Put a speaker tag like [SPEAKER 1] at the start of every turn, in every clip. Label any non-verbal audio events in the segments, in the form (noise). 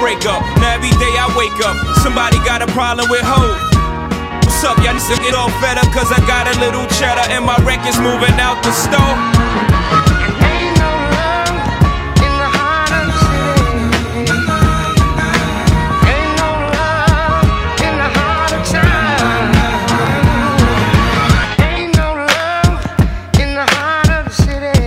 [SPEAKER 1] break up. Now every day I wake up, somebody got a problem with hope. What's up, y'all? Just to get all fed up, cause I got a little cheddar and my record's moving out the store.
[SPEAKER 2] Ain't no love in the heart of the city. Ain't no love in the heart of town. Ain't no love in the heart of the city.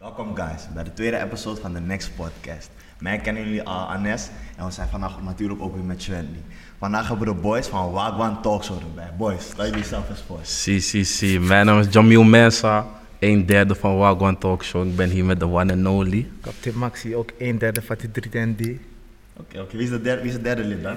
[SPEAKER 3] Welkom guys bij de tweede episode van de Next Podcast. Mij kennen jullie al Anes en we zijn vandaag natuurlijk ook weer met Shandy. Vandaag hebben we de boys van Wagwan Talkshow erbij. Boys, stel jullie zelf eens voor.
[SPEAKER 4] Si, si, si. Mijn naam is Jamil Mensa, een derde van Wagwan Talk Show. Ik ben hier met de one and only.
[SPEAKER 5] Captain Maxi, ook een derde van die 3D.
[SPEAKER 3] Oké, oké. Wie is de derde, wie is de derde lid dan?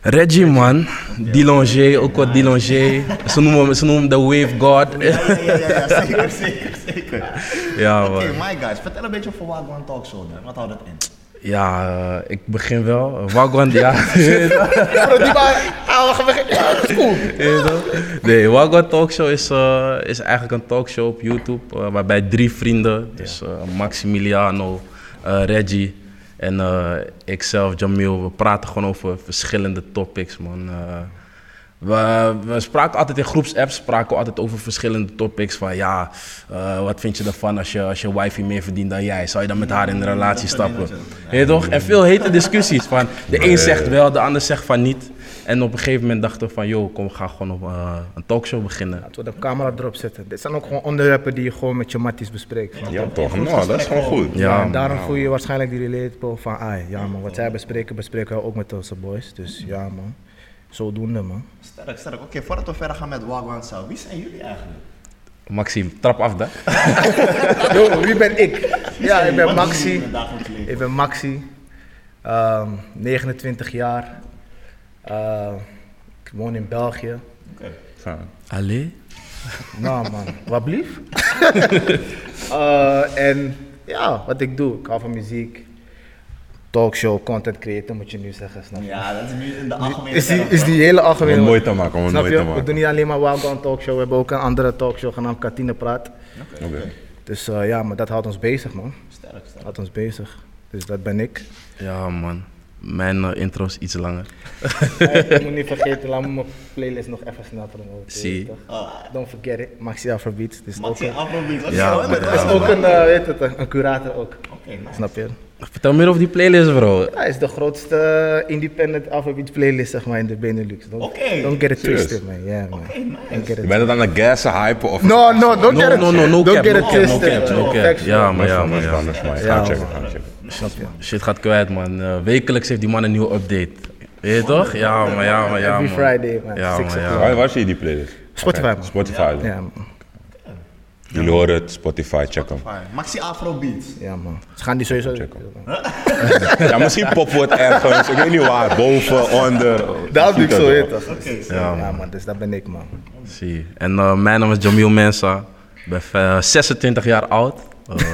[SPEAKER 4] Reggie, man. Dilanger, ook wat Dilanger. Ze noemen hem, ze noemen hem de Wave God. (laughs)
[SPEAKER 3] Ja, ja, ja, ja, ja, zeker, (laughs) zeker, zeker.
[SPEAKER 4] Ja,
[SPEAKER 3] Oké,
[SPEAKER 4] man.
[SPEAKER 3] my guys, vertel een beetje over Wagwan Talkshow dan. Wat houdt dat in?
[SPEAKER 4] Ja, eh, ik begin wel. Eh, Wagwan, ja. (laughs) Ja, toch? nee, Wagwan Talkshow is, eh, is eigenlijk een talkshow op YouTube eh, waarbij drie vrienden, dus eh, Maximiliano, eh, Reggie en eh ikzelf, Jamil, we praten gewoon over verschillende topics, man. Eh, we, we spraken altijd in groepsapps, spraken we altijd over verschillende topics. Van ja, eh, wat vind je ervan als je, als je wifi meer verdient dan jij? Zou je dan met haar in een relatie stappen? Weet je toch? En veel hete discussies van de een zegt wel, de ander zegt van niet. En op een gegeven moment dachten we van joh, kom, we gaan gewoon op, eh, een talkshow beginnen.
[SPEAKER 5] Laten we de camera erop zetten. Dit zijn ook gewoon onderwerpen die je gewoon met je matties bespreekt.
[SPEAKER 6] Ja, toch? Nou, dat is gewoon goed.
[SPEAKER 4] Ja,
[SPEAKER 5] en daarom voel je waarschijnlijk die relatable van, ah ja man, wat zij bespreken, bespreken we ook met onze boys. Dus ja man, zodoende man.
[SPEAKER 3] Sterk, sterk. Oké, voordat we verder gaan met Wagwan zelf, wie zijn jullie eigenlijk?
[SPEAKER 4] Maxime, trap af daar.
[SPEAKER 5] Yo, wie ben ik? Ja, ik ben
[SPEAKER 3] Wat doen jullie
[SPEAKER 5] Maxi.
[SPEAKER 3] in het dagelijks leven?
[SPEAKER 5] Ik ben Maxi, ehm, 29 jaar. Eh, ik woon in België.
[SPEAKER 3] Oké.
[SPEAKER 4] Allee?
[SPEAKER 5] Nou man, wat blief. (laughs) Eh, en ja, wat ik doe, ik hou van muziek. Talkshow, content creator moet je nu zeggen, snap je?
[SPEAKER 3] Ja, dat is nu in de algemene
[SPEAKER 5] Is die,
[SPEAKER 3] term,
[SPEAKER 5] is
[SPEAKER 3] hoor.
[SPEAKER 5] die hele algemene...
[SPEAKER 6] Om het mooi te maken, om het
[SPEAKER 5] Snap
[SPEAKER 6] mooi
[SPEAKER 5] je?
[SPEAKER 6] te maken.
[SPEAKER 5] We doen niet alleen maar Wildground Talkshow, we hebben ook een andere talkshow genaamd Katine Praat.
[SPEAKER 6] Oké.
[SPEAKER 5] Dus eh, ja, maar dat houdt ons bezig man.
[SPEAKER 3] Sterk, sterk.
[SPEAKER 5] Houdt ons bezig. Dus dat ben
[SPEAKER 3] (laughs)
[SPEAKER 5] ik.
[SPEAKER 4] Ja, man. Mijn eh, intro is iets langer.
[SPEAKER 5] Eh, ik moet niet vergeten, laat me mijn playlist nog even snel promoten.
[SPEAKER 4] Zie.
[SPEAKER 5] weet je toch? Don't forget it, Maxi Afrobeats. Dus ook,
[SPEAKER 3] Oh. Maxi
[SPEAKER 5] een-
[SPEAKER 3] Afrobeat, wat
[SPEAKER 4] Ja,
[SPEAKER 3] zo, hè?
[SPEAKER 4] maar-
[SPEAKER 3] Dat
[SPEAKER 5] is
[SPEAKER 3] is
[SPEAKER 5] ook een, eh, weet het, een curator ook.
[SPEAKER 3] Oké, nice.
[SPEAKER 5] Snap je?
[SPEAKER 4] Vertel meer over die playlist, bro.
[SPEAKER 5] Hij Nou, is de grootste eh, independent alphabet playlist zeg maar, in de Benelux. Don't,
[SPEAKER 3] Oké.
[SPEAKER 5] don't get it
[SPEAKER 6] Serieus?
[SPEAKER 5] twisted, man. Yeah, man. Don't get
[SPEAKER 6] Je
[SPEAKER 5] it
[SPEAKER 6] bent het aan de gassen hypen of...
[SPEAKER 5] No, no, don't
[SPEAKER 4] No,
[SPEAKER 5] get it.
[SPEAKER 4] no, no, no
[SPEAKER 5] don't
[SPEAKER 4] cap,
[SPEAKER 5] get
[SPEAKER 4] no
[SPEAKER 5] it
[SPEAKER 4] cap, no
[SPEAKER 5] twisted.
[SPEAKER 4] cap, no cap.
[SPEAKER 5] Factual.
[SPEAKER 4] Ja, maar ja,
[SPEAKER 6] Ja,
[SPEAKER 4] maar
[SPEAKER 6] maar
[SPEAKER 4] ja.
[SPEAKER 6] anders, maar ik
[SPEAKER 5] Ja,
[SPEAKER 6] ga checken,
[SPEAKER 5] man.
[SPEAKER 6] ga checken.
[SPEAKER 5] Snap je?
[SPEAKER 4] Shit gaat kwijt, man. Eh, wekelijks heeft die man een nieuwe update. Weet je toch? Ja, maar ja, maar ja.
[SPEAKER 5] Every
[SPEAKER 4] man.
[SPEAKER 5] Friday, man.
[SPEAKER 4] Ja,
[SPEAKER 5] Six
[SPEAKER 4] maar ja.
[SPEAKER 6] Waar, waar zie je die playlist?
[SPEAKER 5] Spotify,
[SPEAKER 6] Oké,
[SPEAKER 5] man.
[SPEAKER 6] Spotify.
[SPEAKER 5] Ja, man.
[SPEAKER 6] Jullie horen het, Spotify, check hem.
[SPEAKER 3] Fijn. Maxi Afrobeat.
[SPEAKER 5] Ja, man. Ze gaan die sowieso...
[SPEAKER 6] Ja, misschien pop wordt ergens, ik weet niet waar, boven, onder.
[SPEAKER 5] Dat doe ik zo, heet
[SPEAKER 6] heet.
[SPEAKER 5] toch? Dus, Ja, man. Dus dat ben ik, man.
[SPEAKER 4] Zie. En eh, mijn naam is Jamil Mensa. Ik ben eh, 26 jaar oud. Eh,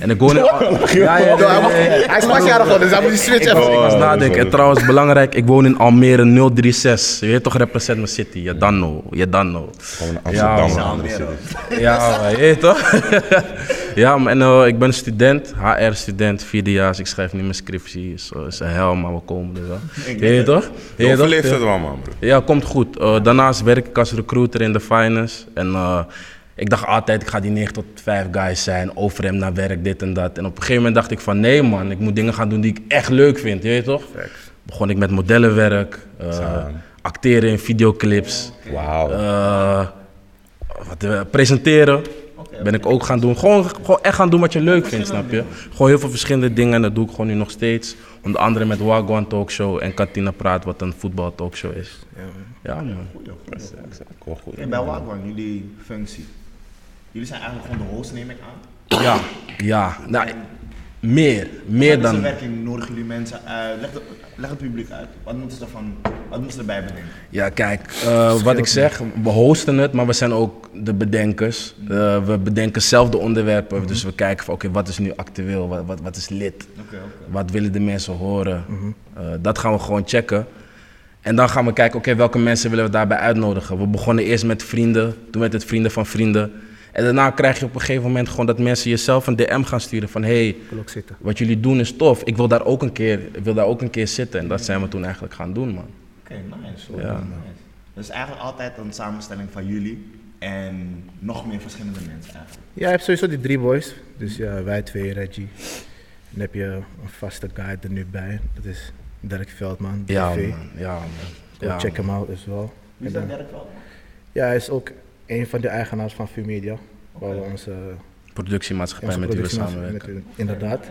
[SPEAKER 4] en ik
[SPEAKER 5] (laughs)
[SPEAKER 4] woon in... Ja, ja, ja, ja, ja, ja.
[SPEAKER 5] Hij is pas jarig geworden, dus hij moet die switch
[SPEAKER 6] Oh,
[SPEAKER 4] Ik
[SPEAKER 5] even...
[SPEAKER 4] was nadenken. En trouwens, belangrijk, ik woon in Almere 036. Je weet toch, represent mijn city. Je dan know, je dan know.
[SPEAKER 6] Gewoon naar
[SPEAKER 4] Ja,
[SPEAKER 6] Amsterdam,
[SPEAKER 4] man.
[SPEAKER 6] man, andere cities.
[SPEAKER 4] Ja, maar je weet toch? (laughs) ja, man, en eh, ik ben student, HR-student, vierdejaars. Ik schrijf niet mijn scriptie. Is, eh, is een hel, maar we komen er wel. Je weet toch? Je
[SPEAKER 6] Je
[SPEAKER 4] weet toch?
[SPEAKER 6] overleeft het wel, man, bro.
[SPEAKER 4] Ja, komt goed. Eh, daarnaast werk ik als recruiter in de finance. En eh, ik dacht altijd, ik ga die 9 tot 5 guys zijn, over hem naar werk, dit en dat. En op een gegeven moment dacht ik van, nee man, ik moet dingen gaan doen die ik echt leuk vind, je weet toch? Begon ik met modellenwerk, eh, acteren in videoclips,
[SPEAKER 6] Wauw.
[SPEAKER 4] eh, wat, eh, presenteren. Ben ik ook gaan doen. Gewoon, gewoon echt gaan doen wat je leuk vindt, snap je? Gewoon heel veel verschillende dingen en dat doe ik gewoon nu nog steeds. Onder andere met Wagwan Talkshow en Katina Praat, wat een voetbal talkshow is. Ja, man.
[SPEAKER 6] Gewoon goed.
[SPEAKER 3] En bij Wagwan, jullie functie. Jullie zijn eigenlijk gewoon de host, neem ik aan.
[SPEAKER 4] Ja, ja. Nou, meer, meer
[SPEAKER 3] Tijdens de
[SPEAKER 4] dan.
[SPEAKER 3] werking nodigen jullie mensen uit. Leg, de- leg het publiek uit. Wat moeten ze ervan, wat moeten ze erbij bedenken?
[SPEAKER 4] Ja, kijk, eh, wat ik zeg, we hosten het, maar we zijn ook de bedenkers. Eh, we bedenken zelf de onderwerpen,
[SPEAKER 3] Mhm.
[SPEAKER 4] dus we kijken van oké, wat is nu actueel, wat, wat, wat is lid,
[SPEAKER 3] Oké, oké. Mhm.
[SPEAKER 4] wat willen de mensen horen. Eh, dat gaan we gewoon checken. En dan gaan we kijken, oké, welke mensen willen we daarbij uitnodigen. We begonnen eerst met vrienden, toen werd het vrienden van vrienden. En daarna krijg je op een gegeven moment gewoon dat mensen jezelf een DM gaan sturen van hey,
[SPEAKER 5] Klok zitten.
[SPEAKER 4] wat jullie doen is tof. Ik wil daar ook een keer, ik wil daar ook een keer zitten. En dat zijn we toen eigenlijk gaan doen, man.
[SPEAKER 3] Oké, nice. hoor.
[SPEAKER 4] Ja.
[SPEAKER 3] nice. Dus eigenlijk altijd een samenstelling van jullie en nog meer verschillende mensen eigenlijk.
[SPEAKER 5] Ja, je hebt sowieso die drie boys. Dus ja, wij twee, Reggie. Dan heb je een vaste guy er nu bij. Dat is Dirk Veldman, DV.
[SPEAKER 4] Ja, man. Ja, man.
[SPEAKER 5] Go
[SPEAKER 4] Ja,
[SPEAKER 5] check
[SPEAKER 4] man.
[SPEAKER 5] hem out as well.
[SPEAKER 3] Wie is dat Dirk wel?
[SPEAKER 5] Ja, hij is ook een van de eigenaars van VuMedia. Waar we onze,
[SPEAKER 4] Productiemaatschappij
[SPEAKER 5] onze
[SPEAKER 4] met wie we
[SPEAKER 5] productie-
[SPEAKER 4] samenwerken.
[SPEAKER 5] met- inderdaad.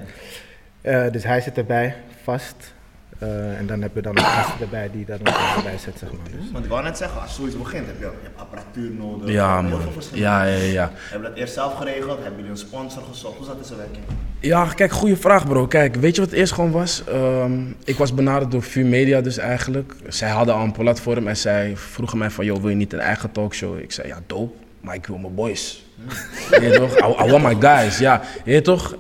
[SPEAKER 5] Eh, dus hij zit erbij, vast. Eh, en dan hebben we dan een gast erbij die daar nog bij zit, zeg maar. Dus.
[SPEAKER 3] Want ik wou net zeggen, als zoiets begint heb je, je hebt apparatuur nodig,
[SPEAKER 4] Ja,
[SPEAKER 3] heel
[SPEAKER 4] man.
[SPEAKER 3] veel verschillende
[SPEAKER 4] Ja, ja, ja, ja.
[SPEAKER 3] Hebben we dat eerst zelf geregeld? Hebben jullie een sponsor gezocht? Hoe zat deze werking?
[SPEAKER 4] Ja, kijk, goede vraag, bro. Kijk, weet je wat het eerst gewoon was? Ehm, ik was benaderd door Vue Media dus eigenlijk. Zij hadden al een platform en zij vroegen mij van, joh, wil je niet een eigen talkshow? Ik zei, ja, dope, maar ik wil mijn boys. (laughs) Je weet toch? I, I want my guys, ja. Je weet toch?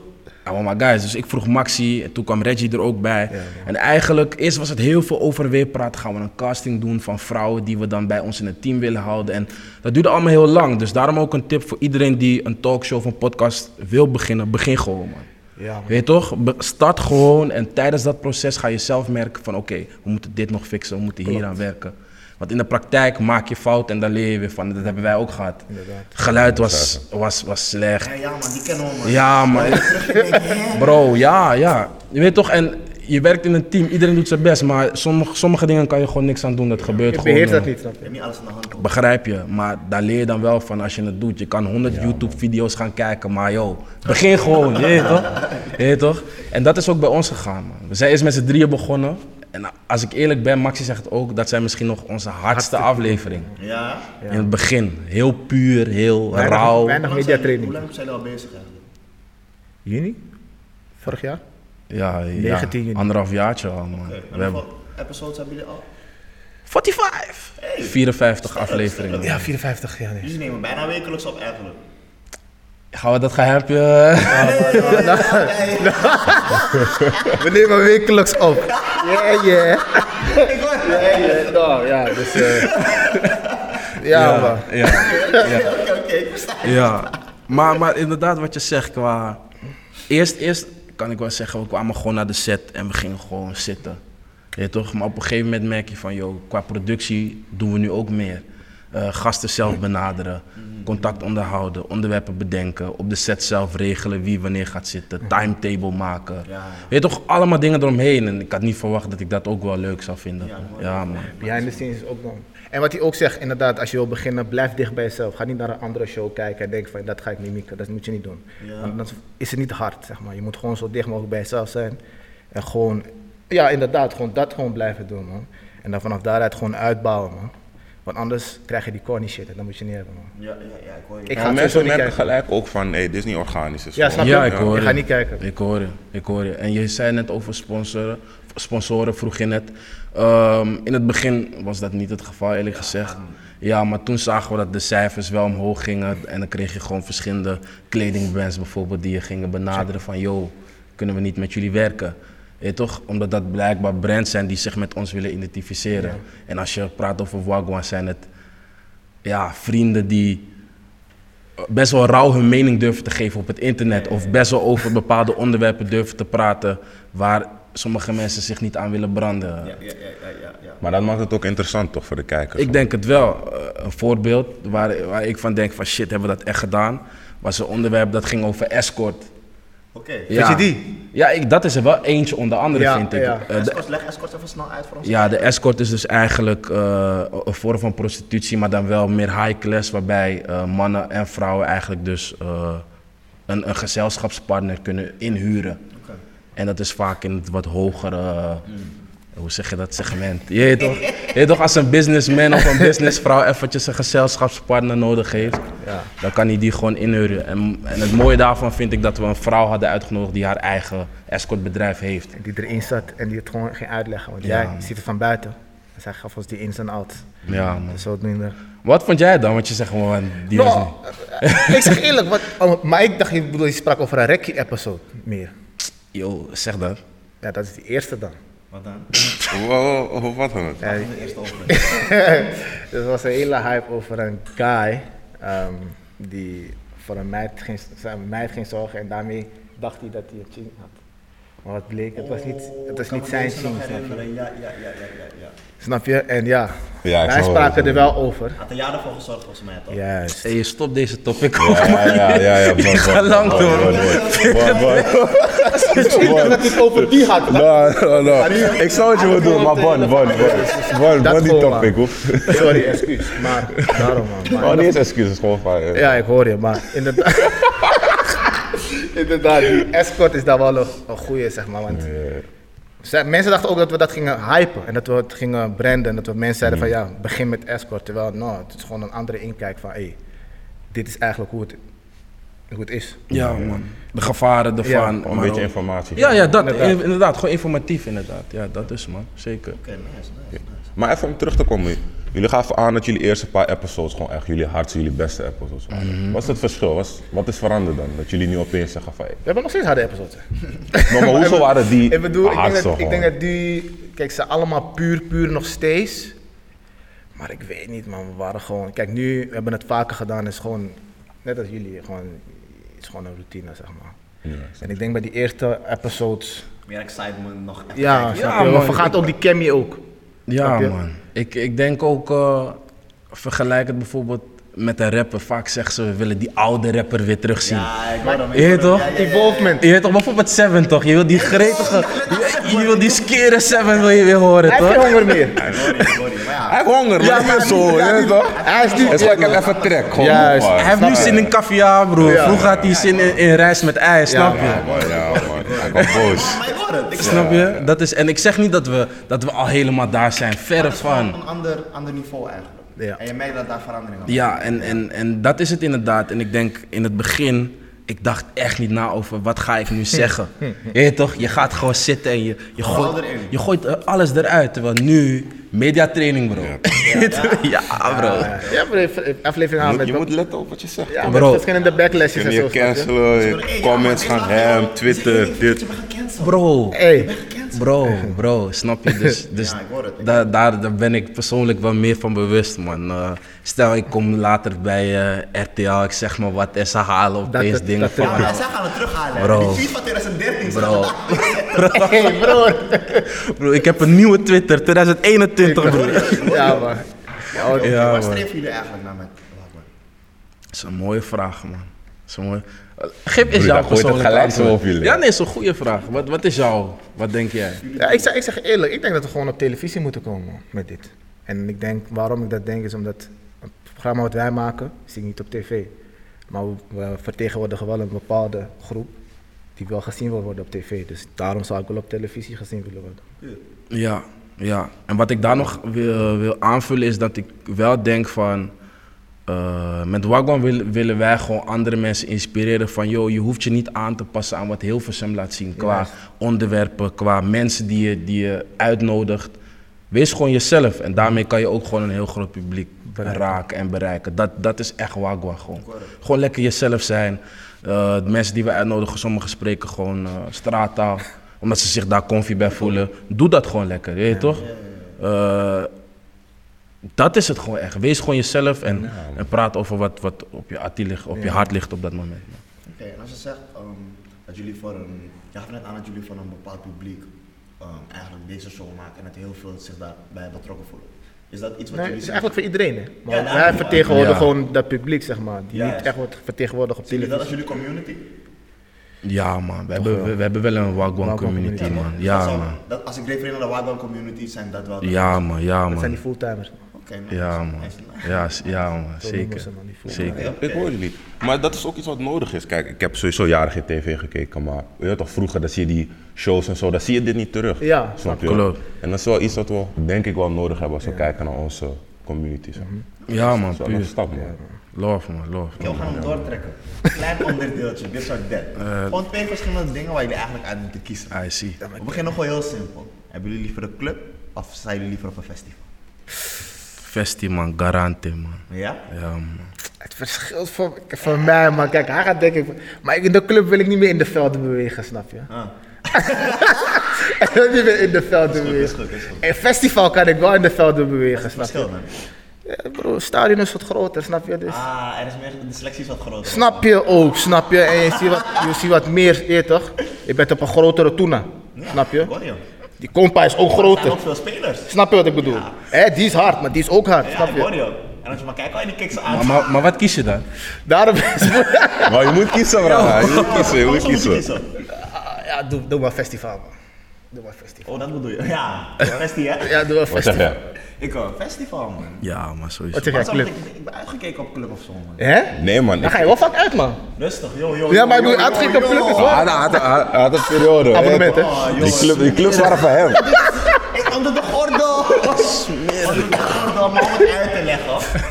[SPEAKER 4] I want my guys. Dus ik vroeg Maxi en toen kwam Reggie er ook bij. en eigenlijk, eerst was het heel veel over weerpraat. Gaan we een casting doen van vrouwen die we dan bij ons in het team willen houden. En dat duurde allemaal heel lang. Dus daarom ook een tip voor iedereen die een talkshow of een podcast wil beginnen. Begin gewoon, man.
[SPEAKER 5] Ja, man.
[SPEAKER 4] Weet je toch? Be- Start gewoon en tijdens dat proces ga je zelf merken van oké, we moeten dit nog fixen, we moeten hier aan werken. Want in de praktijk maak je fout en dan leer je weer van. Dat hebben wij ook gehad. Geluid was, was, was slecht.
[SPEAKER 3] Ja, ja man, die kennen we man.
[SPEAKER 4] Ja, man. Bro, ja, ja. Je weet toch, en je werkt in een team, iedereen doet zijn best, maar sommige, sommige dingen kan je gewoon niks aan doen. Dat gebeurt
[SPEAKER 5] Ik
[SPEAKER 4] gewoon.
[SPEAKER 5] beheer dat
[SPEAKER 4] eh,
[SPEAKER 5] niet, snap
[SPEAKER 3] Je
[SPEAKER 5] je?
[SPEAKER 3] hebt niet alles in de hand. hoor.
[SPEAKER 4] Begrijp je, maar daar leer je dan wel van als je het doet. Je kan 100 YouTube-video's gaan kijken, maar joh, begin gewoon, je weet toch? Je weet toch? En dat is ook bij ons gegaan, man. We zijn eerst met z'n drieën begonnen. En als ik eerlijk ben, Maxi zegt ook, dat zijn misschien nog onze hardste aflevering.
[SPEAKER 3] Ja?
[SPEAKER 4] In het begin. Heel puur, heel
[SPEAKER 5] Weinig-
[SPEAKER 4] rauw.
[SPEAKER 5] Weinig
[SPEAKER 3] Hoe lang zijn jullie-
[SPEAKER 5] mediatraining.
[SPEAKER 3] Hoe lang zijn jullie al bezig eigenlijk?
[SPEAKER 5] Juni? Vorig jaar?
[SPEAKER 4] Ja, ja,
[SPEAKER 5] 19 juni.
[SPEAKER 4] anderhalf jaartje al, man.
[SPEAKER 3] Oké, en
[SPEAKER 4] We hebben
[SPEAKER 3] hoeveel episodes hebben jullie al?
[SPEAKER 4] 45! 54 afleveringen.
[SPEAKER 5] Ja, 54 jaar.
[SPEAKER 3] Jullie nemen bijna wekelijks op eigenlijk.
[SPEAKER 4] Gaan we dat (laughs) geheimje...
[SPEAKER 5] We nemen wekelijks op. Yeah, (laughs) yeah. yeah, no, ja, dus... (laughs) eh, ja, man.
[SPEAKER 4] ja.
[SPEAKER 3] Oké, oké, ik versta.
[SPEAKER 4] Ja, maar, maar inderdaad wat je zegt qua... Eerst, eerst kan ik wel zeggen, we kwamen gewoon naar de set en we gingen gewoon zitten. Je weet toch? Maar op een gegeven moment merk je van, joh, qua productie doen we nu ook meer. Eh, gasten zelf benaderen, contact onderhouden, onderwerpen bedenken, op de set zelf regelen wie wanneer gaat zitten, timetable maken.
[SPEAKER 3] ja.
[SPEAKER 4] Weet je toch, allemaal dingen eromheen. En ik had niet verwacht dat ik dat ook wel leuk zou vinden.
[SPEAKER 3] Ja, mooi.
[SPEAKER 4] Ja, man.
[SPEAKER 5] Behind the scenes is ook dan. En wat hij ook zegt, inderdaad, als je wil beginnen, blijf dicht bij jezelf. Ga niet naar een andere show kijken en denk van, dat ga ik mimieken. Dat moet je niet doen.
[SPEAKER 3] Ja.
[SPEAKER 5] Want dan is het niet hard, zeg maar. Je moet gewoon zo dicht mogelijk bij jezelf zijn. En gewoon, ja, inderdaad, gewoon dat gewoon blijven doen, man. En dan vanaf daaruit gewoon uitbouwen, man. Want anders krijg je die corny shit en dat moet je niet hebben, man.
[SPEAKER 3] Ja, ja, ja, ik hoor je.
[SPEAKER 5] Ik
[SPEAKER 6] Ja,
[SPEAKER 5] ga het sowieso
[SPEAKER 6] mensen
[SPEAKER 5] niet
[SPEAKER 6] merken
[SPEAKER 5] kijken.
[SPEAKER 6] gelijk ook van, hé, dit is niet organisch. het is
[SPEAKER 5] Ja, snap
[SPEAKER 6] gewoon-
[SPEAKER 5] je?
[SPEAKER 4] Ja, ik hoor
[SPEAKER 5] Je
[SPEAKER 4] je.
[SPEAKER 5] gaat niet kijken.
[SPEAKER 4] Ik hoor je, ik hoor je. En je zei net over sponsoren, sponsoren vroeg je net. Ehm, in het begin was dat niet het geval, eerlijk gezegd. Ja, maar toen zagen we dat de cijfers wel omhoog gingen. En dan kreeg je gewoon verschillende kledingbrands bijvoorbeeld die je gingen benaderen van... ...joh, kunnen we niet met jullie werken? Ja, toch? Omdat dat blijkbaar brands zijn die zich met ons willen identificeren. En als je praat over Wagwan zijn het ja, vrienden die best wel rauw hun mening durven te geven op het internet. Of best wel over bepaalde onderwerpen durven te praten waar sommige mensen zich niet aan willen branden.
[SPEAKER 3] Ja, ja, ja, ja, ja, ja.
[SPEAKER 6] Maar dat maakt het ook interessant toch voor de kijkers.
[SPEAKER 4] Ik denk het wel. Eh, een voorbeeld waar, waar ik van denk van shit, hebben we dat echt gedaan? Was een onderwerp dat ging over escort.
[SPEAKER 3] Oké.
[SPEAKER 4] Ja.
[SPEAKER 5] Vind je die?
[SPEAKER 4] Ja, ik, dat is er wel eentje onder andere,
[SPEAKER 5] Ja,
[SPEAKER 4] vind ik.
[SPEAKER 5] ja.
[SPEAKER 4] Eh, de-
[SPEAKER 3] Escort, leg escort even snel uit voor ons.
[SPEAKER 4] Ja, de escort is dus eigenlijk eh, een vorm van prostitutie, maar dan wel meer high class, waarbij eh, mannen en vrouwen eigenlijk dus eh, een, een gezelschapspartner kunnen inhuren.
[SPEAKER 3] Oké.
[SPEAKER 4] En dat is vaak in het wat hogere, eh, hoe zeg je dat, segment. Je weet toch, je weet toch als een businessman of een businessvrouw eventjes een gezelschapspartner nodig heeft, dan kan hij die gewoon inhuren. En, en het mooie daarvan vind ik dat we een vrouw hadden uitgenodigd die haar eigen escortbedrijf heeft.
[SPEAKER 5] die erin zat en die het gewoon ging uitleggen. Want
[SPEAKER 4] Ja,
[SPEAKER 5] jij
[SPEAKER 4] man.
[SPEAKER 5] ziet het van buiten. En zij gaf ons die ins en outs.
[SPEAKER 4] Ja, man.
[SPEAKER 5] Dus zodoende.
[SPEAKER 4] Wat vond jij dan? Want je zegt gewoon, die was
[SPEAKER 5] Nou, eh, ik zeg eerlijk, wat, oh, maar ik dacht, ik bedoel, je sprak over een Rekkie-episode meer.
[SPEAKER 4] Yo, zeg dat.
[SPEAKER 5] Ja, dat is die eerste dan. Eh,
[SPEAKER 3] Wat dan?
[SPEAKER 6] Wow, wow, wat dan?
[SPEAKER 5] Ja,
[SPEAKER 3] In de eerste
[SPEAKER 5] (laughs)
[SPEAKER 3] open.
[SPEAKER 5] er was een hele hype over een guy ehm, die voor een meid geen, zijn meid geen zorgen en daarmee dacht hij dat hij een ching had. Maar wat bleek, het was niet, het was
[SPEAKER 3] kan
[SPEAKER 5] niet
[SPEAKER 3] me
[SPEAKER 5] zijn
[SPEAKER 3] deze nog
[SPEAKER 5] ching. Snap je?
[SPEAKER 3] herinneren. Ja, ja, ja, ja, ja, ja.
[SPEAKER 5] Snap je? En ja,
[SPEAKER 6] Ja, ik
[SPEAKER 5] wij
[SPEAKER 6] snap wel wat je
[SPEAKER 5] spraken er wel over.
[SPEAKER 3] Had een jaar ervoor gezorgd volgens mij toch?
[SPEAKER 5] Juist.
[SPEAKER 4] Hey, je stopt deze topic ook,
[SPEAKER 6] Ja,
[SPEAKER 4] man.
[SPEAKER 6] ja, ja, ja.
[SPEAKER 4] Je
[SPEAKER 6] bro,
[SPEAKER 4] gaat
[SPEAKER 6] bro,
[SPEAKER 4] lang
[SPEAKER 6] bro,
[SPEAKER 4] door.
[SPEAKER 5] (laughs)
[SPEAKER 6] bro, bro, bro. Bro, bro.
[SPEAKER 5] Dat het over die had.
[SPEAKER 6] (laughs) No, no, no. Ik zou het je willen doen, maar bon, bon, bon. Bon,
[SPEAKER 5] Dat
[SPEAKER 6] bon die
[SPEAKER 5] gewoon,
[SPEAKER 6] topic,
[SPEAKER 5] man.
[SPEAKER 6] hoor.
[SPEAKER 5] (laughs)
[SPEAKER 6] (laughs)
[SPEAKER 5] Sorry, excuus. Maar daarom man. Maar
[SPEAKER 6] Oh, niet eens excuses, gewoon van... eh.
[SPEAKER 5] Ja, ik hoor je, maar inderdaad. (laughs) inderdaad, die escort is daar wel een, een goeie, zeg maar. Want ze- mensen dachten ook dat we dat gingen hypen en dat we het gingen branden. En dat we mensen zeiden van ja, begin met escort. Terwijl, nou, het is gewoon een andere inkijk van hé, dit is eigenlijk hoe het, hoe het is.
[SPEAKER 4] Ja, man. De gevaren ervan.
[SPEAKER 5] Ja,
[SPEAKER 4] maar
[SPEAKER 6] Een beetje
[SPEAKER 4] ook-
[SPEAKER 6] informatie.
[SPEAKER 4] Ja, ja, dat.
[SPEAKER 5] Inderdaad.
[SPEAKER 4] eh, Inderdaad, gewoon informatief, inderdaad. Ja, dat is, man. Zeker.
[SPEAKER 3] Oké, nice, nice, nice.
[SPEAKER 6] Maar even om terug te komen. Jullie gaven aan dat jullie eerste paar episodes gewoon echt jullie hardste, jullie beste episodes waren.
[SPEAKER 5] Mhm.
[SPEAKER 6] Wat is het verschil? Wat is, wat is veranderd dan? Dat jullie nu opeens zeggen van... hey,
[SPEAKER 5] We hebben nog steeds harde episodes.
[SPEAKER 6] Maar, maar hoezo waren die
[SPEAKER 5] (laughs) Ik bedoel, ik denk,
[SPEAKER 6] hardste
[SPEAKER 5] dat, ik denk
[SPEAKER 6] gewoon?
[SPEAKER 5] dat die. Kijk, ze zijn allemaal puur, puur nog steeds. Maar ik weet niet, man. We waren gewoon. Kijk, nu we hebben we het vaker gedaan. is gewoon. Net als jullie. Gewoon, is gewoon een routine, zeg maar. en ik denk bij die eerste episodes.
[SPEAKER 3] Meer excitement nog. even
[SPEAKER 5] Ja,
[SPEAKER 3] kijken.
[SPEAKER 5] snap je?
[SPEAKER 4] man.
[SPEAKER 5] we vergaat ook die Cammy ook.
[SPEAKER 4] Ja,
[SPEAKER 5] Snap je?
[SPEAKER 4] man. Ik, ik denk ook, eh, vergelijk het bijvoorbeeld met een rapper. Vaak zeggen ze, we willen die oude rapper weer terugzien.
[SPEAKER 3] Ja, ik hoor hem.
[SPEAKER 4] Je weet toch?
[SPEAKER 5] Evolvement.
[SPEAKER 4] Je weet toch, bijvoorbeeld Seven toch? Je wil die gretige, je, je wil die skere Seven wil je weer horen
[SPEAKER 5] (laughs) Hij heeft
[SPEAKER 4] toch?
[SPEAKER 5] geen honger meer.
[SPEAKER 6] Hij heeft honger, maar het is zo. hè, toch?
[SPEAKER 5] Hij is
[SPEAKER 6] Het is
[SPEAKER 5] niet.
[SPEAKER 6] gewoon, ik heb even trek. Gewoon
[SPEAKER 5] Juist.
[SPEAKER 6] man.
[SPEAKER 4] Hij heeft nu
[SPEAKER 6] Snap
[SPEAKER 4] zin
[SPEAKER 6] je?
[SPEAKER 4] in caviar, bro. Vroeger had hij zin in, in rijst met ei, snap je?
[SPEAKER 6] Ja, man, ja, man.
[SPEAKER 5] (laughs)
[SPEAKER 6] Hij komt boos.
[SPEAKER 3] Maar ik hoor het. Ik
[SPEAKER 4] Snap je? Dat is, en ik zeg niet dat we, dat we al helemaal daar zijn, verre
[SPEAKER 3] van
[SPEAKER 4] van.
[SPEAKER 3] een ander, ander niveau eigenlijk.
[SPEAKER 5] Ja.
[SPEAKER 3] En je merkt dat daar verandering aan
[SPEAKER 4] Ja, en, en, en dat is het inderdaad. En ik denk in het begin, ik dacht echt niet na over wat ga ik nu zeggen. Je weet toch, je gaat gewoon zitten en je, je gooit,
[SPEAKER 3] erin.
[SPEAKER 4] je gooit eh, alles eruit. Terwijl nu, mediatraining bro. (laughs) Ja, bro.
[SPEAKER 5] Ja, maar even- aflevering aan
[SPEAKER 6] Je,
[SPEAKER 5] met.
[SPEAKER 6] je moet letten op wat je zegt.
[SPEAKER 5] Ja,
[SPEAKER 6] man.
[SPEAKER 5] met
[SPEAKER 4] Bro.
[SPEAKER 5] verschillende backlashes
[SPEAKER 6] Kun
[SPEAKER 5] en
[SPEAKER 6] je
[SPEAKER 5] zo. snap je?
[SPEAKER 6] cancelen, je comments
[SPEAKER 3] gaan
[SPEAKER 6] gaan hem, Twitter, dit.
[SPEAKER 4] Bro,
[SPEAKER 5] Hey, (laughs)
[SPEAKER 4] bro, bro, snap je?
[SPEAKER 3] (laughs)
[SPEAKER 4] Dus, dus
[SPEAKER 3] Ja, ik hoor het, ik
[SPEAKER 4] da- daar, daar ben ik persoonlijk wel meer van bewust, man. Eh, stel, ik kom later bij eh RTL, ik zeg maar wat, en ze halen
[SPEAKER 5] Dat-
[SPEAKER 4] opeens
[SPEAKER 5] dat-
[SPEAKER 4] dingen
[SPEAKER 5] dat-
[SPEAKER 4] van
[SPEAKER 3] Ja,
[SPEAKER 4] me.
[SPEAKER 3] maar zij gaan het terughalen.
[SPEAKER 4] Bro.
[SPEAKER 3] Die tweet van 2013. ze (laughs)
[SPEAKER 4] Bro.
[SPEAKER 3] gaan het daar-
[SPEAKER 5] hey, broer.
[SPEAKER 4] Bro, ik heb een nieuwe Twitter, 2021, bro.
[SPEAKER 5] Ja, man. Ja, hoor.
[SPEAKER 4] Ja,
[SPEAKER 3] Waar
[SPEAKER 4] man.
[SPEAKER 3] streven jullie eigenlijk naar met Wachtman?
[SPEAKER 4] Dat is een mooie vraag, man. Dat is een mooie... Eh, Gip is
[SPEAKER 6] Broer,
[SPEAKER 4] jouw
[SPEAKER 6] dan gooit het
[SPEAKER 4] persoonlijke
[SPEAKER 6] gelijk
[SPEAKER 4] antwoord.
[SPEAKER 6] zo op jullie.
[SPEAKER 4] Ja, nee, is een goede vraag. Wat, wat is jouw? Wat denk jij?
[SPEAKER 5] Ja, ik, zeg, ik zeg eerlijk, ik denk dat we gewoon op televisie moeten komen met dit. En ik denk, waarom ik dat denk, is omdat het programma wat wij maken, zie ik niet op tv. Maar we, we vertegenwoordigen wel een bepaalde groep die wel gezien wil worden op tv. Dus daarom zou ik wel op televisie gezien willen worden.
[SPEAKER 4] Ja, ja. En wat ik daar nog wil, wil aanvullen is dat ik wel denk van... eh, met Wagwan wil- willen wij gewoon andere mensen inspireren van... joh, je hoeft je niet aan te passen aan wat Hilversum laat zien. Qua
[SPEAKER 5] Juist.
[SPEAKER 4] onderwerpen, qua mensen die je, die je uitnodigt. Wees gewoon jezelf. En daarmee kan je ook gewoon een heel groot publiek raken en bereiken. Dat, dat is echt Wagwan gewoon. Gewoon lekker jezelf zijn. Eh, de mensen die we uitnodigen, sommigen spreken gewoon eh, straattaal. Omdat ze zich daar comfy bij voelen. Doe dat gewoon lekker, weet je toch? Eh, dat is het gewoon echt. Wees gewoon jezelf en, en praat over wat, wat op je attie ligt, op je hart ligt op dat moment.
[SPEAKER 3] Oké, en als je zegt ehm, dat jullie voor een. Je gaf net aan dat jullie voor een bepaald publiek ehm, eigenlijk deze show maken en dat heel veel zich daarbij betrokken voelen. Is dat iets wat
[SPEAKER 5] Nee, het
[SPEAKER 3] jullie
[SPEAKER 5] is
[SPEAKER 3] zien?
[SPEAKER 5] eigenlijk voor iedereen. Hè? Maar
[SPEAKER 3] Ja, daarom,
[SPEAKER 5] wij vertegenwoordigen
[SPEAKER 4] ja.
[SPEAKER 5] gewoon dat publiek, zeg maar, die
[SPEAKER 3] Juist.
[SPEAKER 5] niet echt wordt vertegenwoordigd op
[SPEAKER 3] Zien jullie dat
[SPEAKER 5] televisie.
[SPEAKER 3] als jullie community?
[SPEAKER 4] Ja man, we hebben, we, we hebben wel een Wagwan
[SPEAKER 5] Wagwan
[SPEAKER 4] community
[SPEAKER 5] community,
[SPEAKER 4] man.
[SPEAKER 3] Dat
[SPEAKER 4] Ja
[SPEAKER 3] zou-
[SPEAKER 4] man,
[SPEAKER 3] dat- als ik refereer naar de Wagwan community, zijn dat wel. de-
[SPEAKER 4] ja man, ja
[SPEAKER 5] Dat zijn die
[SPEAKER 4] man.
[SPEAKER 5] fulltimers.
[SPEAKER 3] Oké, nice.
[SPEAKER 4] Ja man,
[SPEAKER 3] Nice, nice.
[SPEAKER 4] ja, s- ja man,
[SPEAKER 5] noemen
[SPEAKER 4] zeker.
[SPEAKER 5] ze maar, die voetbal.
[SPEAKER 4] Zeker.
[SPEAKER 6] Ik hoor jullie. Maar dat is ook iets wat nodig is. Kijk, ik heb sowieso jaren geen tv gekeken, maar weet je toch, vroeger dan zie je die shows en zo, dan zie je dit niet terug.
[SPEAKER 5] Ja,
[SPEAKER 6] snap je?
[SPEAKER 4] klopt.
[SPEAKER 6] En dat is wel iets wat we denk ik wel nodig hebben als we kijken naar onze community. Zo.
[SPEAKER 5] Mhm.
[SPEAKER 4] Ja man,
[SPEAKER 6] Dat is wel een
[SPEAKER 4] puur.
[SPEAKER 6] stap, man.
[SPEAKER 4] Love man, Eh, love.
[SPEAKER 3] Oké, we gaan hem doortrekken.
[SPEAKER 4] (laughs)
[SPEAKER 3] Klein onderdeeltje, dit soort dat. Gewoon twee verschillende dingen waar jullie eigenlijk uit moeten kiezen.
[SPEAKER 4] I see.
[SPEAKER 3] We beginnen gewoon heel simpel. Hebben jullie liever een club of zijn jullie liever op een festival?
[SPEAKER 4] Festi man, garante man.
[SPEAKER 3] Ja?
[SPEAKER 4] Ja man.
[SPEAKER 5] Het verschilt voor, voor mij, maar kijk, hij gaat denk ik. Maar in de club wil ik niet meer in de velden bewegen, snap je?
[SPEAKER 3] Ah.
[SPEAKER 5] Ik wil niet meer in de velden
[SPEAKER 3] Is goed, is
[SPEAKER 5] bewegen.
[SPEAKER 3] goed, is goed.
[SPEAKER 5] In festival kan ik wel in de velden bewegen, snap je?
[SPEAKER 3] Verschil, man.
[SPEAKER 5] Ja, bro, het stadion is wat groter, snap je? Dus,
[SPEAKER 3] Ah, er is meer, de selectie is wat groter.
[SPEAKER 5] snap je ook, snap je? En je ziet wat, je ziet wat meer, je weet toch? Je bent op een grotere toena,
[SPEAKER 3] Ja,
[SPEAKER 5] snap
[SPEAKER 3] ik
[SPEAKER 5] je?
[SPEAKER 3] hoor
[SPEAKER 5] Die compa is ook
[SPEAKER 3] Er zijn
[SPEAKER 5] groter.
[SPEAKER 3] ook veel spelers.
[SPEAKER 5] Snap je wat ik bedoel? Hè, die is hard, maar die is ook hard,
[SPEAKER 3] Ja,
[SPEAKER 5] snap
[SPEAKER 3] ik hoor
[SPEAKER 5] je?
[SPEAKER 3] je. En als je maar kijkt, kan je die kicks aan.
[SPEAKER 4] Maar, maar, maar wat kies je dan?
[SPEAKER 5] Daarom is
[SPEAKER 6] Maar je moet kiezen, bro. Je
[SPEAKER 3] Oh,
[SPEAKER 6] moet kiezen, je moet kiezen.
[SPEAKER 5] (laughs) Ja, doe, doe maar festival, man. Doe maar festival.
[SPEAKER 3] Oh, dat bedoel je. Ja, festival hè?
[SPEAKER 5] Ja, doe maar
[SPEAKER 6] Wat zeg
[SPEAKER 5] festival.
[SPEAKER 6] jij?
[SPEAKER 3] Ik hoor festival, man.
[SPEAKER 4] Ja, maar sowieso.
[SPEAKER 5] Wat zeg jij,
[SPEAKER 3] Sorry,
[SPEAKER 5] club?
[SPEAKER 3] ik, ik ben uitgekeken op club of zo, man.
[SPEAKER 5] Hè?
[SPEAKER 6] Nee, man.
[SPEAKER 5] Daar
[SPEAKER 6] ik-
[SPEAKER 5] ga je wel vaak uit, man.
[SPEAKER 3] Rustig, joh, joh.
[SPEAKER 5] Ja, maar ik bedoel, uitgekeken op club is wel-
[SPEAKER 6] Oh, Hij had- hij had- hij had een periode. hè.
[SPEAKER 5] Abonnement, hè?
[SPEAKER 3] Oh,
[SPEAKER 6] Die,
[SPEAKER 3] jongens.
[SPEAKER 6] club, die clubs waren van hem.
[SPEAKER 3] Ik onder de
[SPEAKER 5] (laughs)
[SPEAKER 3] gordel.
[SPEAKER 5] Oh,
[SPEAKER 3] Onder de gordel, om het uit te leggen.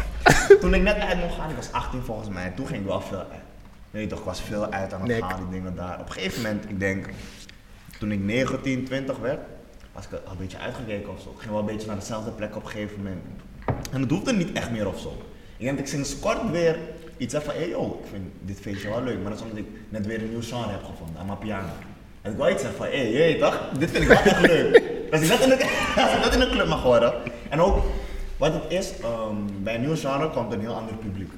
[SPEAKER 3] Toen ik net uit mocht gaan, ik was 18 volgens mij. Toen ging ik wel veel uit. Weet je toch, ik was veel uit aan het
[SPEAKER 5] Nee, ik-
[SPEAKER 3] gaan, die dingen daar. Op een gegeven moment, ik denk, toen ik 19, 20 werd, was ik al een beetje uitgekeken of zo. Ik ging wel een beetje naar dezelfde plek op een gegeven moment. En het hoefde niet echt meer of zo. Ik denk dat ik sinds kort weer iets heb van, hey yo, ik vind dit feestje wel leuk. Maar dat is omdat ik net weer een nieuw genre heb gevonden aan mijn piano. En ik wil iets zeggen van, hé, hey, je weet toch, dit vind ik wel echt leuk. Als ik dat in, de, (laughs) als ik dat in de club mag horen. En ook, wat het is, ehm, bij een nieuw genre komt een heel ander publiek.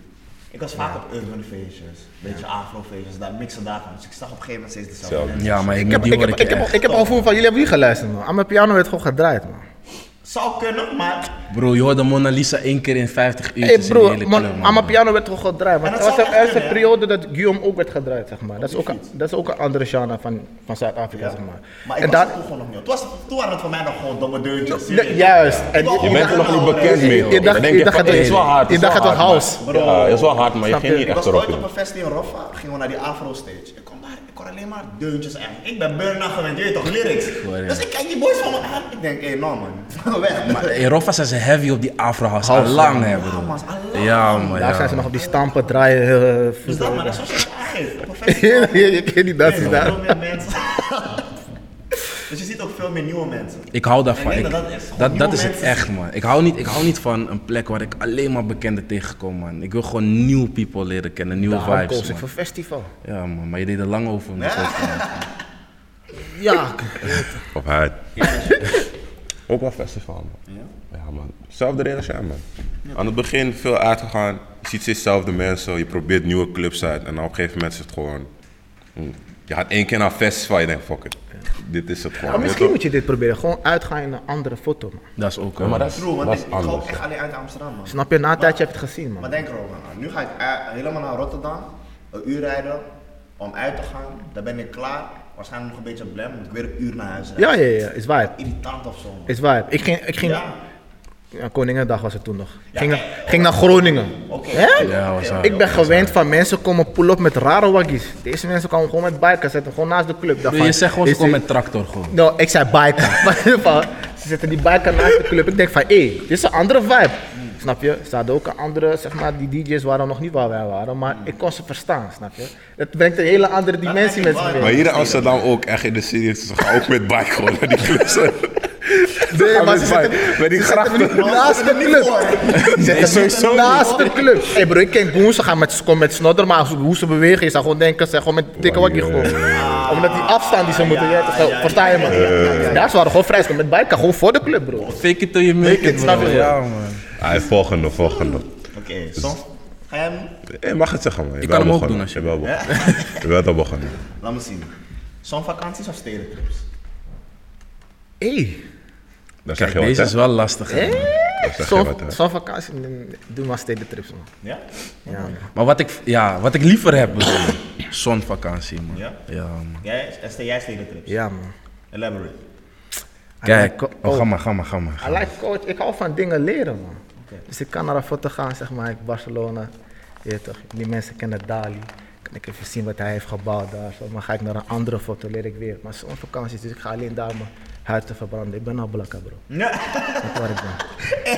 [SPEAKER 3] Ik was vaak op urban feestjes, een beetje afro feestjes, daar mixen daarvan. Dus ik zag op een gegeven moment steeds dezelfde
[SPEAKER 6] Zo.
[SPEAKER 3] mensen.
[SPEAKER 4] Ja, maar ik,
[SPEAKER 5] Ik heb,
[SPEAKER 4] die
[SPEAKER 5] ik, heb,
[SPEAKER 4] hoor ik,
[SPEAKER 5] ik, heb,
[SPEAKER 4] echt.
[SPEAKER 5] ik heb al gevoel van, jullie hebben hier geluisterd, man. Aan mijn piano werd gewoon gedraaid, man.
[SPEAKER 3] Zou kunnen, maar
[SPEAKER 4] Bro, je hoorde Mona Lisa één keer in 50 uur.
[SPEAKER 5] Hey
[SPEAKER 4] in de
[SPEAKER 5] broer,
[SPEAKER 4] hele
[SPEAKER 5] man,
[SPEAKER 4] club, man.
[SPEAKER 5] aan mijn piano werd gewoon gedraaid.
[SPEAKER 3] En
[SPEAKER 5] Want
[SPEAKER 3] dat zou
[SPEAKER 5] het was de
[SPEAKER 3] echt
[SPEAKER 5] eerste
[SPEAKER 3] kunnen, hè?
[SPEAKER 5] periode dat Guillaume ook werd gedraaid, zeg maar. Dat is ook, een- dat is ook een andere genre van, van Zuid-Afrika, zeg maar.
[SPEAKER 3] maar ik
[SPEAKER 5] en
[SPEAKER 3] was
[SPEAKER 5] daar,
[SPEAKER 3] er toen gewoon nog niet. op. Het was, toen waren het voor mij nog gewoon domme deuntjes.
[SPEAKER 5] Ja, juist. En
[SPEAKER 3] Ik wou
[SPEAKER 6] Je bent er nog niet bekend mee.
[SPEAKER 5] Je dacht-
[SPEAKER 6] Dan denk
[SPEAKER 5] je dacht
[SPEAKER 6] van,
[SPEAKER 5] het-
[SPEAKER 6] hey, is wel hard.
[SPEAKER 5] je
[SPEAKER 6] is wel
[SPEAKER 5] dacht het
[SPEAKER 6] hard,
[SPEAKER 5] was
[SPEAKER 6] maar-
[SPEAKER 5] house.
[SPEAKER 3] Bro.
[SPEAKER 6] Ja, is wel hard, maar je
[SPEAKER 5] Snap
[SPEAKER 6] ging
[SPEAKER 5] je?
[SPEAKER 6] niet
[SPEAKER 3] Ik was
[SPEAKER 6] echt erop
[SPEAKER 3] ooit op
[SPEAKER 6] in.
[SPEAKER 3] een festival in Roffa, gingen we naar die afro stage. Ik kom daar, ik hoor alleen maar deuntjes eigenlijk. Ik ben burn gewend, je weet toch, lyrics. Dus ik kijk die boys van me aan, ik denk, hé, nou man, (laughs) weg.
[SPEAKER 4] Maar Ah, in Roffa zijn ze heavy op die afrohouse. Al
[SPEAKER 5] House,
[SPEAKER 4] lang,
[SPEAKER 5] ja.
[SPEAKER 4] hè,
[SPEAKER 3] Ja,
[SPEAKER 4] bro.
[SPEAKER 3] man, Allah.
[SPEAKER 4] Ja, man.
[SPEAKER 5] daar zijn ze
[SPEAKER 4] Ja.
[SPEAKER 5] nog op die stampen draaien. eh,
[SPEAKER 3] Dus dat man, dat is zoals je het aangeeft. Op een festival.
[SPEAKER 5] je, je kent die dansen
[SPEAKER 3] Nee,
[SPEAKER 5] daar.
[SPEAKER 3] veel meer mensen. (laughs) dus je ziet ook veel meer nieuwe mensen.
[SPEAKER 4] Ik hou daarvan.
[SPEAKER 3] Ik denk
[SPEAKER 4] Ik-
[SPEAKER 3] dat dat is. Gewoon
[SPEAKER 4] dat, dat
[SPEAKER 3] nieuwe
[SPEAKER 4] is het
[SPEAKER 3] mensen
[SPEAKER 4] echt, man. Ik hou, niet, ik hou niet van een plek waar ik alleen maar bekenden tegenkom, man. Ik wil gewoon nieuw people leren kennen, nieuwe
[SPEAKER 5] Daarom koos
[SPEAKER 4] vibes,
[SPEAKER 5] ik
[SPEAKER 4] man.
[SPEAKER 5] voor festival.
[SPEAKER 4] Ja, man. Maar je deed er lang over. om dat zo te maken.
[SPEAKER 5] Ja,
[SPEAKER 6] Op huid. Ook wel festival, man. Ja? man. Zelfde reden als jij, man. Aan het begin veel uitgegaan. Je ziet steeds dezelfde mensen. Je probeert nieuwe clubs uit. En dan op een gegeven moment is het gewoon... mm, Je gaat één keer naar een festival. Je denkt, fuck it. Dit is het gewoon.
[SPEAKER 5] (laughs) maar
[SPEAKER 6] Weet
[SPEAKER 5] misschien
[SPEAKER 6] toch?
[SPEAKER 5] moet je dit proberen. Gewoon uitgaan in een andere foto, man.
[SPEAKER 4] Dat is ook,
[SPEAKER 6] Ja, maar
[SPEAKER 4] eh,
[SPEAKER 6] dat is,
[SPEAKER 3] True, want
[SPEAKER 6] dat
[SPEAKER 3] ik,
[SPEAKER 6] is
[SPEAKER 3] ik ga
[SPEAKER 6] anders.
[SPEAKER 3] ook echt alleen uit Amsterdam, man.
[SPEAKER 5] Snap je? Na een tijdje heb je het gezien,
[SPEAKER 3] Maar
[SPEAKER 5] man.
[SPEAKER 3] denk erover na. Nu ga ik eh, helemaal naar Rotterdam, een uur rijden om uit te gaan. Dan ben ik klaar. Waarschijnlijk nog een beetje blem, moet ik weer een uur naar huis rijden.
[SPEAKER 5] Ja, ja, ja. Is vibe.
[SPEAKER 3] Irritant of zo. man.
[SPEAKER 5] Is vibe. Ik ging, ik ging,
[SPEAKER 3] Ja.
[SPEAKER 5] Ja, Koningendag was het toen nog. Ging, naar- ging naar Groningen.
[SPEAKER 3] Oké.
[SPEAKER 5] Hè?
[SPEAKER 4] Ja, was hard.
[SPEAKER 5] ik ben gewend van mensen komen pull-up met rare waggies. Deze mensen komen gewoon met bikers zetten, gewoon naast de club.
[SPEAKER 4] Bro, je zegt gewoon, ze komen met tractor, gewoon.
[SPEAKER 5] No, ik zei biker. (laughs) Maar in ieder geval, ze zetten die biker naast de club. Ik denk van, hé, dit is een andere vibe. Snap je? Ze hadden ook een andere, zeg maar, die DJ's waren nog niet waar wij waren, maar ik kon ze verstaan, snap je? Het brengt een hele andere dimensie met zich
[SPEAKER 6] Maar
[SPEAKER 5] mee.
[SPEAKER 6] hier in Amsterdam ook, echt in de serie, ze gaan ook met bike gewoon naar die
[SPEAKER 5] (laughs)
[SPEAKER 6] clubs.
[SPEAKER 5] Nee, maar ze
[SPEAKER 6] Bij- bij die
[SPEAKER 5] ze zetten me niet
[SPEAKER 6] grachten. (laughs)
[SPEAKER 5] naast de club. Ze zetten me niet
[SPEAKER 6] sowieso
[SPEAKER 5] naast de club. Hé bro, ik ken Goen, ze gaan met, komen met snodder, maar als- hoe ze bewegen, je zou gewoon denken, ze zijn gewoon met dikke wakkie gewoon. Omdat die afstand die ze moeten, ja, toch, versta je me? Daar ze waren gewoon vrij, ze komen met biker, gewoon voor de club bro.
[SPEAKER 4] Fake it till you make
[SPEAKER 5] Fake it,
[SPEAKER 4] it,
[SPEAKER 5] snap
[SPEAKER 4] bro.
[SPEAKER 5] je?
[SPEAKER 4] Ja, man.
[SPEAKER 6] Hij volgende, volgende.
[SPEAKER 3] Oké, soms. Ga jij hem?
[SPEAKER 6] Je Eh, mag het zeggen, man. Je
[SPEAKER 4] Ik
[SPEAKER 6] bent
[SPEAKER 4] kan hem ook
[SPEAKER 6] begonnen.
[SPEAKER 4] doen als je-
[SPEAKER 6] bent begonnen. (laughs) Je bent al begonnen.
[SPEAKER 3] Laat me zien. Zo'n vakanties of stedentrips?
[SPEAKER 5] Hé,
[SPEAKER 6] Dan zeg je wat,
[SPEAKER 4] Deze
[SPEAKER 6] hè?
[SPEAKER 4] is wel lastig.
[SPEAKER 5] Eh?
[SPEAKER 4] hè, man.
[SPEAKER 6] Dan zeg je
[SPEAKER 5] zo'n
[SPEAKER 6] wat, hè?
[SPEAKER 5] zo'n vakantie, mm, doe maar stedentrips man.
[SPEAKER 3] Ja?
[SPEAKER 5] Ja, man.
[SPEAKER 4] Maar wat ik, ja, wat ik liever heb, bedoel ik. zonvakantie, man.
[SPEAKER 3] Ja?
[SPEAKER 4] man.
[SPEAKER 3] Jij, Esther, jij stedentrips?
[SPEAKER 5] Ja, man.
[SPEAKER 3] Elaborate. (laughs)
[SPEAKER 5] Ah,
[SPEAKER 4] Kijk,
[SPEAKER 5] Allee,
[SPEAKER 4] oh,
[SPEAKER 5] coach.
[SPEAKER 4] ga maar, ga maar, ga maar.
[SPEAKER 5] I
[SPEAKER 4] ga maar.
[SPEAKER 5] like coach, ik hou van dingen leren man. Dus ik kan naar een foto gaan, zeg maar, ik Barcelona. Je weet toch, die mensen kennen Dali. Kan ik even zien wat hij heeft gebouwd daar. Zo. Maar ga ik naar een andere foto, leer ik weer. Maar zo'n vakantie, dus ik ga alleen daar mijn huid te verbranden. Ik ben al blakker bro.
[SPEAKER 3] Ja.
[SPEAKER 5] Dat waar ik ben.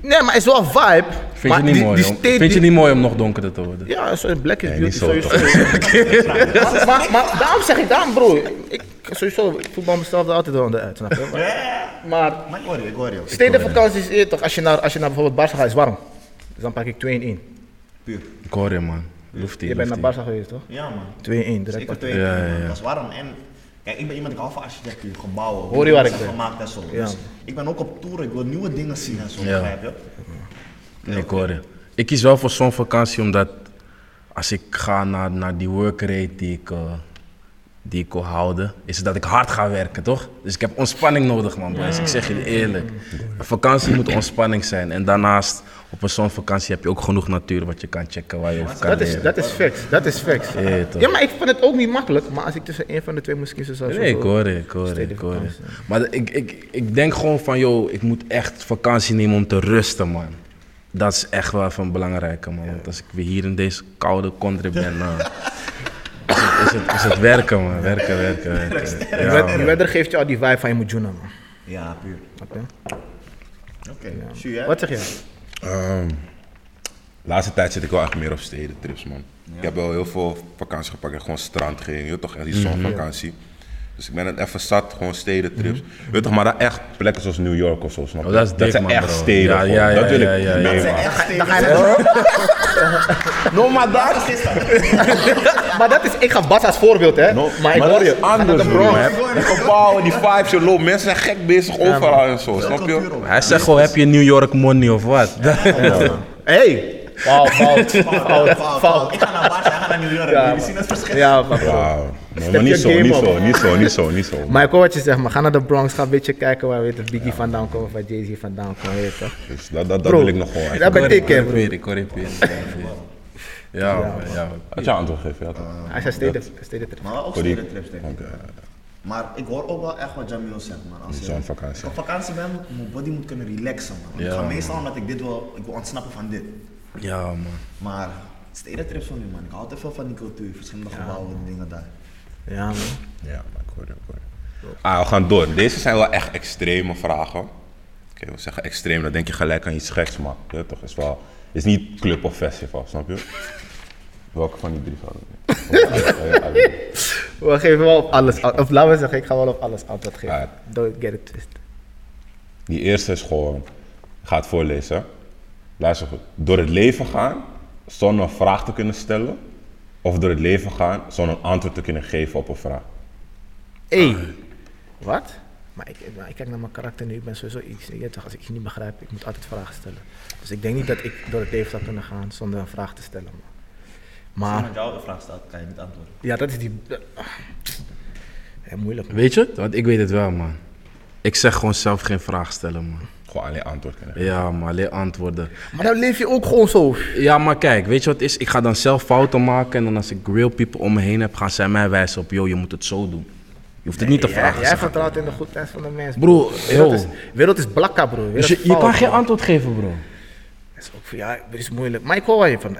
[SPEAKER 5] Nee, maar het is wel vibe.
[SPEAKER 4] Vind
[SPEAKER 5] maar
[SPEAKER 4] je, niet
[SPEAKER 5] die,
[SPEAKER 4] mooi,
[SPEAKER 5] die
[SPEAKER 4] om-
[SPEAKER 5] steed-
[SPEAKER 4] vind je
[SPEAKER 5] die-
[SPEAKER 4] niet mooi om nog donkerder te worden?
[SPEAKER 5] Ja, zo, black is
[SPEAKER 6] niet
[SPEAKER 5] beauty
[SPEAKER 6] zo,
[SPEAKER 5] sowieso. maar, maar, maar daarom zeg ik, daarom bro. Ik, sowieso, ik voetbal mezelf er altijd wel onderuit, snap je? Maar- maar
[SPEAKER 3] Maar ik hoor je, ik hoor je.
[SPEAKER 5] Stedenvakanties, je weet toch, als je naar, als je naar bijvoorbeeld Barça gaat, is warm. Dus dan pak ik 2 in 1.
[SPEAKER 3] Puur.
[SPEAKER 4] Ik hoor je, man. Loeft die,
[SPEAKER 5] Je bent
[SPEAKER 4] loeft
[SPEAKER 5] naar
[SPEAKER 4] die.
[SPEAKER 5] Barça geweest, toch?
[SPEAKER 3] Ja, man.
[SPEAKER 5] 2 in 1, direct.
[SPEAKER 3] Zeker
[SPEAKER 5] pak-
[SPEAKER 3] twee.
[SPEAKER 4] Ja, ja, ja.
[SPEAKER 3] Dat is warm en Kijk, ik ben iemand, ik hou van architectuur, gebouwen.
[SPEAKER 5] Hoor je waar
[SPEAKER 3] hoe
[SPEAKER 5] ik
[SPEAKER 3] ze
[SPEAKER 5] ben?
[SPEAKER 3] Gemaakt en zo.
[SPEAKER 5] Ja.
[SPEAKER 3] Dus ik ben ook op tour, ik wil nieuwe dingen zien en zo,
[SPEAKER 4] Ja.
[SPEAKER 3] begrijp je?
[SPEAKER 4] Nee, ik hoor je. Ik kies wel voor zo'n vakantie omdat als ik ga naar, naar die workrate die ik, eh, die ik wil houden, is het dat ik hard ga werken, toch? Dus ik heb ontspanning nodig, man, boys. Ik zeg je eerlijk. Een vakantie moet ontspanning zijn. En daarnaast, op een zo'n vakantie heb je ook genoeg natuur wat je kan checken, waar je over kan
[SPEAKER 5] Dat is,
[SPEAKER 4] leren.
[SPEAKER 5] dat is facts, dat is facts.
[SPEAKER 4] Ja, toch.
[SPEAKER 5] Ja, maar ik vond het ook niet makkelijk, maar als ik tussen één van de twee moest kiezen, zou ik
[SPEAKER 4] Nee, ik
[SPEAKER 5] sowieso-
[SPEAKER 4] hoor je, ik hoor je,
[SPEAKER 5] Steden
[SPEAKER 4] ik hoor je.
[SPEAKER 5] vakantie.
[SPEAKER 4] Maar de- ik, ik, ik denk gewoon van, joh, ik moet echt vakantie nemen om te rusten, man. Dat is echt wel van belangrijke, man. Want als ik weer hier in deze koude country ben, nou, is, het, is, het, is het werken, man. Werken, werken, werken.
[SPEAKER 5] Die
[SPEAKER 4] Ja,
[SPEAKER 5] wed- Die
[SPEAKER 4] man.
[SPEAKER 5] weather geeft je al die vibe van je moet joenen, man.
[SPEAKER 3] Ja, puur.
[SPEAKER 5] Snap je?
[SPEAKER 3] Oké, zie je?
[SPEAKER 5] Wat zeg je? (laughs)
[SPEAKER 6] Ehm, laatste tijd zit ik wel echt meer op stedentrips, man. Ik heb wel heel veel vakantie gepakt en gewoon strand ging. Je weet toch
[SPEAKER 4] Mhm.
[SPEAKER 6] echt die zonvakantie. Dus ik ben het even zat, gewoon stedentrips. Je Weet toch, maar dan echt plekken zoals New York of zo, snap je?
[SPEAKER 4] Oh, dat is dik,
[SPEAKER 6] zijn
[SPEAKER 4] man,
[SPEAKER 6] echt
[SPEAKER 4] bro.
[SPEAKER 6] steden.
[SPEAKER 4] Ja,
[SPEAKER 6] gewoon.
[SPEAKER 4] ja, ja,
[SPEAKER 6] dat wil
[SPEAKER 4] ja,
[SPEAKER 6] ik
[SPEAKER 4] ja, ja.
[SPEAKER 3] Dat zijn
[SPEAKER 6] meemaken.
[SPEAKER 3] echt steden.
[SPEAKER 6] No, maar daar
[SPEAKER 3] Dat is dat.
[SPEAKER 5] Maar dat is, ik ga Bas als voorbeeld, hè?
[SPEAKER 6] No,
[SPEAKER 5] maar ik
[SPEAKER 6] dat
[SPEAKER 5] hoor
[SPEAKER 6] is
[SPEAKER 5] je.
[SPEAKER 6] anders,
[SPEAKER 5] de
[SPEAKER 6] bro.
[SPEAKER 5] Bronx.
[SPEAKER 6] Die gebouwen, die vibes, je loopt. Mensen zijn gek bezig overal en zo, snap je?
[SPEAKER 3] Cultuur ook.
[SPEAKER 4] Hij zegt gewoon, heb je New York money of wat?
[SPEAKER 5] Hey! (laughs) Wauw, fout, fout,
[SPEAKER 3] Fout, fout.
[SPEAKER 5] fout.
[SPEAKER 3] Ik ga naar Barca, hij gaat naar New York.
[SPEAKER 5] Ja,
[SPEAKER 3] Jullie
[SPEAKER 5] man.
[SPEAKER 3] zien het verschil.
[SPEAKER 5] Ja, maar bro.
[SPEAKER 6] Wauw. Nee,
[SPEAKER 5] Step
[SPEAKER 6] maar niet
[SPEAKER 5] your
[SPEAKER 6] zo,
[SPEAKER 5] game
[SPEAKER 6] niet
[SPEAKER 5] op.
[SPEAKER 6] zo, niet zo, niet zo, niet zo.
[SPEAKER 5] Maar ik hoor wat je zegt, maar ga naar de Bronx, ga een beetje kijken waar weet je, Biggie vandaan komt, waar Jay-Z vandaan komt, weet je toch?
[SPEAKER 6] Dus dat, dat, dat
[SPEAKER 5] Bro,
[SPEAKER 6] wil ik nog gewoon
[SPEAKER 5] dat
[SPEAKER 6] eigenlijk.
[SPEAKER 5] ben ik, hè, bro.
[SPEAKER 4] weer, ik hoor je weer. Ja, man, ja, man.
[SPEAKER 6] Had je antwoord gegeven, ja toch?
[SPEAKER 5] Hij zei steden, steden terug.
[SPEAKER 3] Maar ook
[SPEAKER 6] Voor die-
[SPEAKER 3] stedentrips, denk ik.
[SPEAKER 6] Oké.
[SPEAKER 3] Maar ik hoor ook wel echt wat Jamil zegt, man. Als
[SPEAKER 6] Die
[SPEAKER 3] je
[SPEAKER 6] zonvakantie.
[SPEAKER 3] op vakantie bent, mijn body moet kunnen relaxen, man. Ik
[SPEAKER 4] Ja,
[SPEAKER 3] ga
[SPEAKER 4] man.
[SPEAKER 3] meestal omdat ik dit wil, ik wil ontsnappen van dit.
[SPEAKER 4] Ja, man.
[SPEAKER 3] Maar stedentrips van nu, man. Ik hou te veel van die cultuur, verschillende gebouwen en dingen daar.
[SPEAKER 5] Ja, man.
[SPEAKER 6] Ja, maar ik hoor je, ik hoor je. Ah, we gaan door. Deze zijn wel echt extreme vragen. Oké, we zeggen extreem, dan denk je gelijk aan iets geks, maar ja, toch is wel... is niet club of festival, snap je? Welke van die drie zouden (laughs) we?
[SPEAKER 5] We geven wel op alles antwoord. Of laten we zeggen, ik ga wel op alles antwoord geven.
[SPEAKER 6] Ja.
[SPEAKER 5] Don't get it twisted.
[SPEAKER 6] Die eerste is gewoon... Ik ga het voorlezen. Luister goed. Door het leven gaan zonder een vraag te kunnen stellen... of door het leven gaan zonder een antwoord te kunnen geven op een vraag.
[SPEAKER 5] Hey. Wat? Maar ik, maar ik kijk naar mijn karakter nu, ik ben sowieso iets. Je weet toch, als ik je niet begrijp, ik moet altijd vragen stellen. Dus ik denk niet dat ik door het leven zou kunnen gaan zonder een vraag te stellen. Man. Maar,
[SPEAKER 3] Als jou de vraag staat, kan je niet antwoorden.
[SPEAKER 5] ja, dat is die... ah. Heel moeilijk, man.
[SPEAKER 4] Weet je het? Want ik weet het wel, man. Ik zeg gewoon zelf geen vraag stellen, man.
[SPEAKER 6] Gewoon alleen antwoord kunnen geven.
[SPEAKER 4] Ja, maar alleen antwoorden.
[SPEAKER 5] Maar dan leef je ook gewoon zo.
[SPEAKER 4] Ja, maar kijk, weet je wat het is? Ik ga dan zelf fouten maken en dan als ik real people om me heen heb, gaan zij mij wijzen op, joh, je moet het zo doen. Je hoeft het niet te vragen.
[SPEAKER 5] Jij vertrouwt in de goedheid van de mens.
[SPEAKER 4] Bro,
[SPEAKER 5] wereld
[SPEAKER 4] yo.
[SPEAKER 5] is, wereld is blakka, bro. Wereld
[SPEAKER 4] Dus je,
[SPEAKER 5] is
[SPEAKER 4] je kan
[SPEAKER 5] fout,
[SPEAKER 4] geen
[SPEAKER 5] man.
[SPEAKER 4] antwoord geven, bro.
[SPEAKER 5] Dat is ook voor ja, dat is moeilijk. Maar ik hoor waar je van.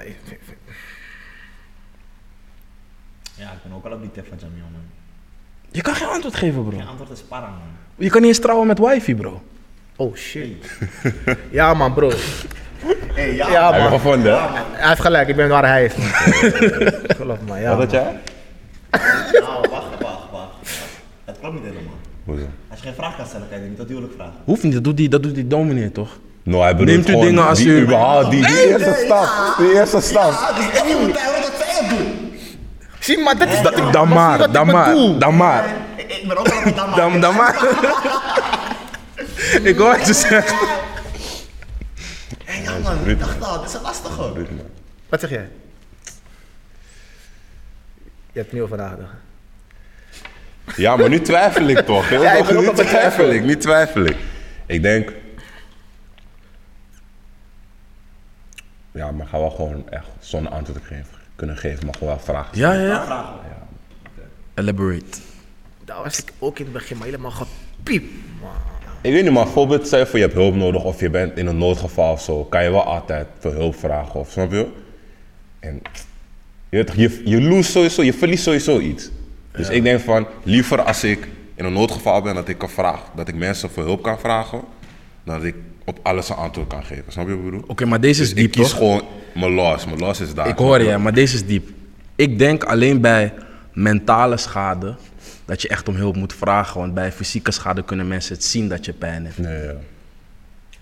[SPEAKER 3] Ja, ik ben ook wel op die tip van Jamil, man.
[SPEAKER 4] Je kan geen antwoord geven, bro.
[SPEAKER 3] Je antwoord is para, man.
[SPEAKER 4] Je kan niet eens trouwen met wifi, bro.
[SPEAKER 5] Oh shit. Ja, man, bro.
[SPEAKER 3] Hey, ja,
[SPEAKER 5] Ja,
[SPEAKER 6] Heb je
[SPEAKER 5] man.
[SPEAKER 6] gevonden, hè?
[SPEAKER 5] Hij heeft gelijk, ik ben waar hij is. man. Geloof me, ja.
[SPEAKER 6] Wat
[SPEAKER 5] man.
[SPEAKER 6] had jij?
[SPEAKER 3] Nou, wacht, wacht, wacht. Dat klopt niet helemaal.
[SPEAKER 6] Hoezo?
[SPEAKER 3] Als je geen vraag kan stellen, kan je niet dat huwelijk vragen.
[SPEAKER 4] Hoeft niet, dat doet die, dat doet die dominee toch?
[SPEAKER 6] Nou, hij bedoelt
[SPEAKER 4] Neemt u
[SPEAKER 6] gewoon
[SPEAKER 4] dingen als
[SPEAKER 6] die,
[SPEAKER 4] u-
[SPEAKER 6] überhaupt die, die eerste stap, die eerste stap.
[SPEAKER 3] dus ik moet hij dat zij het doen.
[SPEAKER 5] Zie, maar dat is
[SPEAKER 4] Dat ik dan
[SPEAKER 5] maar zie
[SPEAKER 4] maar,
[SPEAKER 5] wat ik
[SPEAKER 4] dan
[SPEAKER 5] bedoel.
[SPEAKER 4] maar, dan maar.
[SPEAKER 3] Ik ik ben ook wel op die dam.
[SPEAKER 4] Dan, dan maar. (laughs) ik hoor het je zeggen.
[SPEAKER 3] Hey, ja, man, ik dacht al, dit is een lastige.
[SPEAKER 5] Wat zeg jij? Je hebt niet over nagedacht.
[SPEAKER 6] Ja, maar nu twijfel ik toch. hè?
[SPEAKER 5] Ja, ik ben
[SPEAKER 6] nu
[SPEAKER 5] ook aan het
[SPEAKER 6] twijfel ik,
[SPEAKER 5] twijfelen.
[SPEAKER 6] nu twijfel ik. Ik denk... Ja, maar gaan we gewoon echt zonder antwoord kunnen geven- kunnen geven, maar gewoon wel vragen.
[SPEAKER 4] Ja, ja, ja. Elaborate.
[SPEAKER 5] Daar was ik ook in het begin, maar helemaal gepiep. man.
[SPEAKER 6] Ik weet niet, maar bijvoorbeeld, stel je voor je hebt hulp nodig of je bent in een noodgeval of zo, kan je wel altijd voor hulp vragen of snap je? En je, weet toch, je, je lose sowieso, je verliest sowieso iets. Dus ik denk van, liever als ik in een noodgeval ben dat ik kan vragen, dat ik mensen voor hulp kan vragen, dan dat ik op alles een antwoord kan geven. Snap je wat ik bedoel?
[SPEAKER 4] Oké, maar deze is
[SPEAKER 6] Dus ik
[SPEAKER 4] diep,
[SPEAKER 6] kies
[SPEAKER 4] toch?
[SPEAKER 6] gewoon mijn loss, mijn loss is daar.
[SPEAKER 4] Ik hoor je, maar deze is diep. Ik denk alleen bij mentale schade dat je echt om hulp moet vragen. Want bij fysieke schade kunnen mensen het zien dat je pijn hebt.
[SPEAKER 6] Nee, ja.
[SPEAKER 3] Hmm,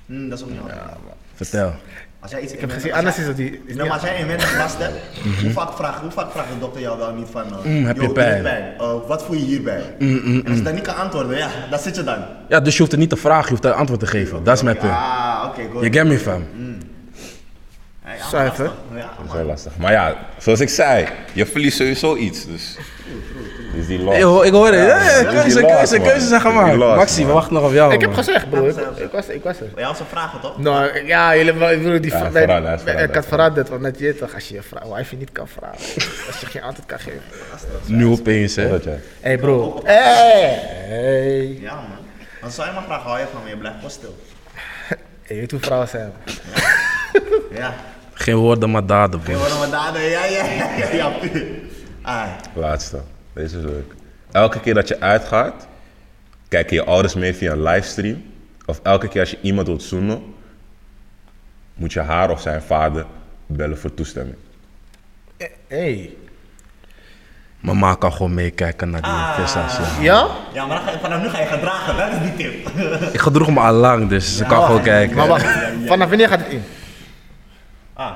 [SPEAKER 3] Hm, dat is ook niet waar.
[SPEAKER 4] Vertel.
[SPEAKER 3] Als jij iets ik
[SPEAKER 5] heb gezien, anders is het die-
[SPEAKER 3] Nee, maar als Dus jij inwendig last hebt, hoe, vaak vraagt, hoe vaak vraagt de dokter jou wel niet van... eh,
[SPEAKER 4] Mm, heb je
[SPEAKER 3] "Yo,
[SPEAKER 4] pijn?"
[SPEAKER 3] Eh, wat voel je hierbij? En als je dan niet kan antwoorden, ja, daar zit je dan.
[SPEAKER 4] Ja, dus je hoeft er niet te vragen, je hoeft er antwoord te geven. Dat is mijn punt.
[SPEAKER 3] Ah, oké, goed.
[SPEAKER 4] Je get me, fam.
[SPEAKER 3] Ja, ja,
[SPEAKER 5] Zuiver.
[SPEAKER 3] lastig. Ja,
[SPEAKER 6] Dat is wel lastig. Maar ja, zoals ik zei, je verliest sowieso iets. Dus, dus die loss.
[SPEAKER 4] Hey, hoor- ik hoor het. Ja,
[SPEAKER 6] dus die
[SPEAKER 4] keuzes,
[SPEAKER 6] loss,
[SPEAKER 4] keuzes,
[SPEAKER 6] man.
[SPEAKER 4] keuzes zijn
[SPEAKER 6] Dus die
[SPEAKER 4] gemaakt.
[SPEAKER 6] loss,
[SPEAKER 4] Maxi, we
[SPEAKER 6] man.
[SPEAKER 4] wachten nog op jou.
[SPEAKER 5] Ik heb
[SPEAKER 4] man.
[SPEAKER 5] gezegd, bro. Ik, ik was, ik was er.
[SPEAKER 3] Maar jij had ze vragen, toch?
[SPEAKER 5] Nou, ik- ja, jullie hebben- ik bedoel, die
[SPEAKER 6] Ja,
[SPEAKER 5] vra-
[SPEAKER 6] verraad,
[SPEAKER 5] nee,
[SPEAKER 6] hij is
[SPEAKER 5] nee,
[SPEAKER 6] verraad,
[SPEAKER 5] Ik
[SPEAKER 6] hij
[SPEAKER 5] had
[SPEAKER 6] is verraad.
[SPEAKER 5] verraad dat, want net je weet toch, als je je vrouw, wife niet kan vragen. als je geen antwoord kan geven.
[SPEAKER 4] Nu opeens, hè.
[SPEAKER 6] Dat, ja.
[SPEAKER 5] Hé hey bro. Hey. Hey.
[SPEAKER 3] Ja, man. Dan zou je maar vragen, hou je van me, je blijft wel stil.
[SPEAKER 5] Je weet hoe vrouwen zijn. man.
[SPEAKER 3] Ja.
[SPEAKER 4] Geen woorden, maar daden,
[SPEAKER 3] Je
[SPEAKER 4] bro.
[SPEAKER 3] wordt nog daden, ja, ja, ja, ja, ja. Ah,
[SPEAKER 6] Laatste. Deze is leuk. Elke keer dat je uitgaat, kijken je ouders mee via een livestream. Of elke keer als je iemand wilt zoenen, moet je haar of zijn vader bellen voor toestemming.
[SPEAKER 5] Hey.
[SPEAKER 4] Mama kan gewoon meekijken naar die
[SPEAKER 5] Ah.
[SPEAKER 4] prestatie.
[SPEAKER 5] Ja?
[SPEAKER 3] ja, maar dan ga je- vanaf nu ga je gedragen, dat is die tip. (laughs)
[SPEAKER 4] Ik gedroeg me al lang, dus ze kan gewoon kijken.
[SPEAKER 5] Maar wacht,
[SPEAKER 3] ja, ja.
[SPEAKER 5] vanaf wanneer gaat het in?
[SPEAKER 3] Ah.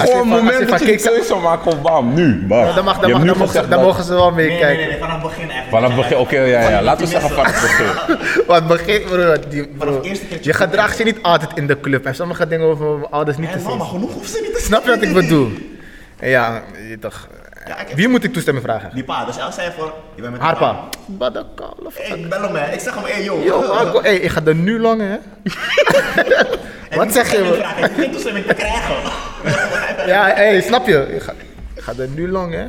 [SPEAKER 5] van-
[SPEAKER 6] een
[SPEAKER 5] als je
[SPEAKER 6] moment dat
[SPEAKER 5] van
[SPEAKER 6] je een
[SPEAKER 5] kiks-
[SPEAKER 6] keuze maakt, gewoon bam, nu. Bam.
[SPEAKER 5] Dan, mag,
[SPEAKER 6] Je
[SPEAKER 5] dan,
[SPEAKER 6] hebt
[SPEAKER 5] mag, dan,
[SPEAKER 6] nu
[SPEAKER 5] mogen, ze-
[SPEAKER 6] gezegd
[SPEAKER 5] dan
[SPEAKER 6] dat-
[SPEAKER 5] mogen ze wel
[SPEAKER 3] Nee, nee, nee,
[SPEAKER 5] meekijken.
[SPEAKER 3] nee, vanaf het begin echt.
[SPEAKER 6] Vanaf het begin, oké, ja, ja, laten we zeggen vanaf het begin.
[SPEAKER 5] (laughs) Want begin, bro, die, bro,
[SPEAKER 3] de eerste keer-
[SPEAKER 5] je gedraagt je niet altijd in de club. En sommige dingen over mijn ouders niet te
[SPEAKER 3] En
[SPEAKER 5] zien.
[SPEAKER 3] mama, genoeg hoeft ze niet te
[SPEAKER 5] Snap je wat ik bedoel? Ja, je toch.
[SPEAKER 3] Ja, ik-
[SPEAKER 5] Wie moet ik toestemming vragen?
[SPEAKER 3] Die pa, dus als zij voor, je bent met die
[SPEAKER 5] Harpa. Badakala.
[SPEAKER 3] pa. Ik bel hem, hè. Ik zeg hem, hé, hey, yo.
[SPEAKER 5] Yo, Marco, hey, ik ga er nu lang, hè?
[SPEAKER 3] (laughs) En
[SPEAKER 5] wat
[SPEAKER 3] ik
[SPEAKER 5] zeg je,
[SPEAKER 3] die
[SPEAKER 5] man?
[SPEAKER 3] vraag, Ik vind toestemming te krijgen.
[SPEAKER 5] Ja, hey, snap je? Ik ga, ik ga er nu lang, hè?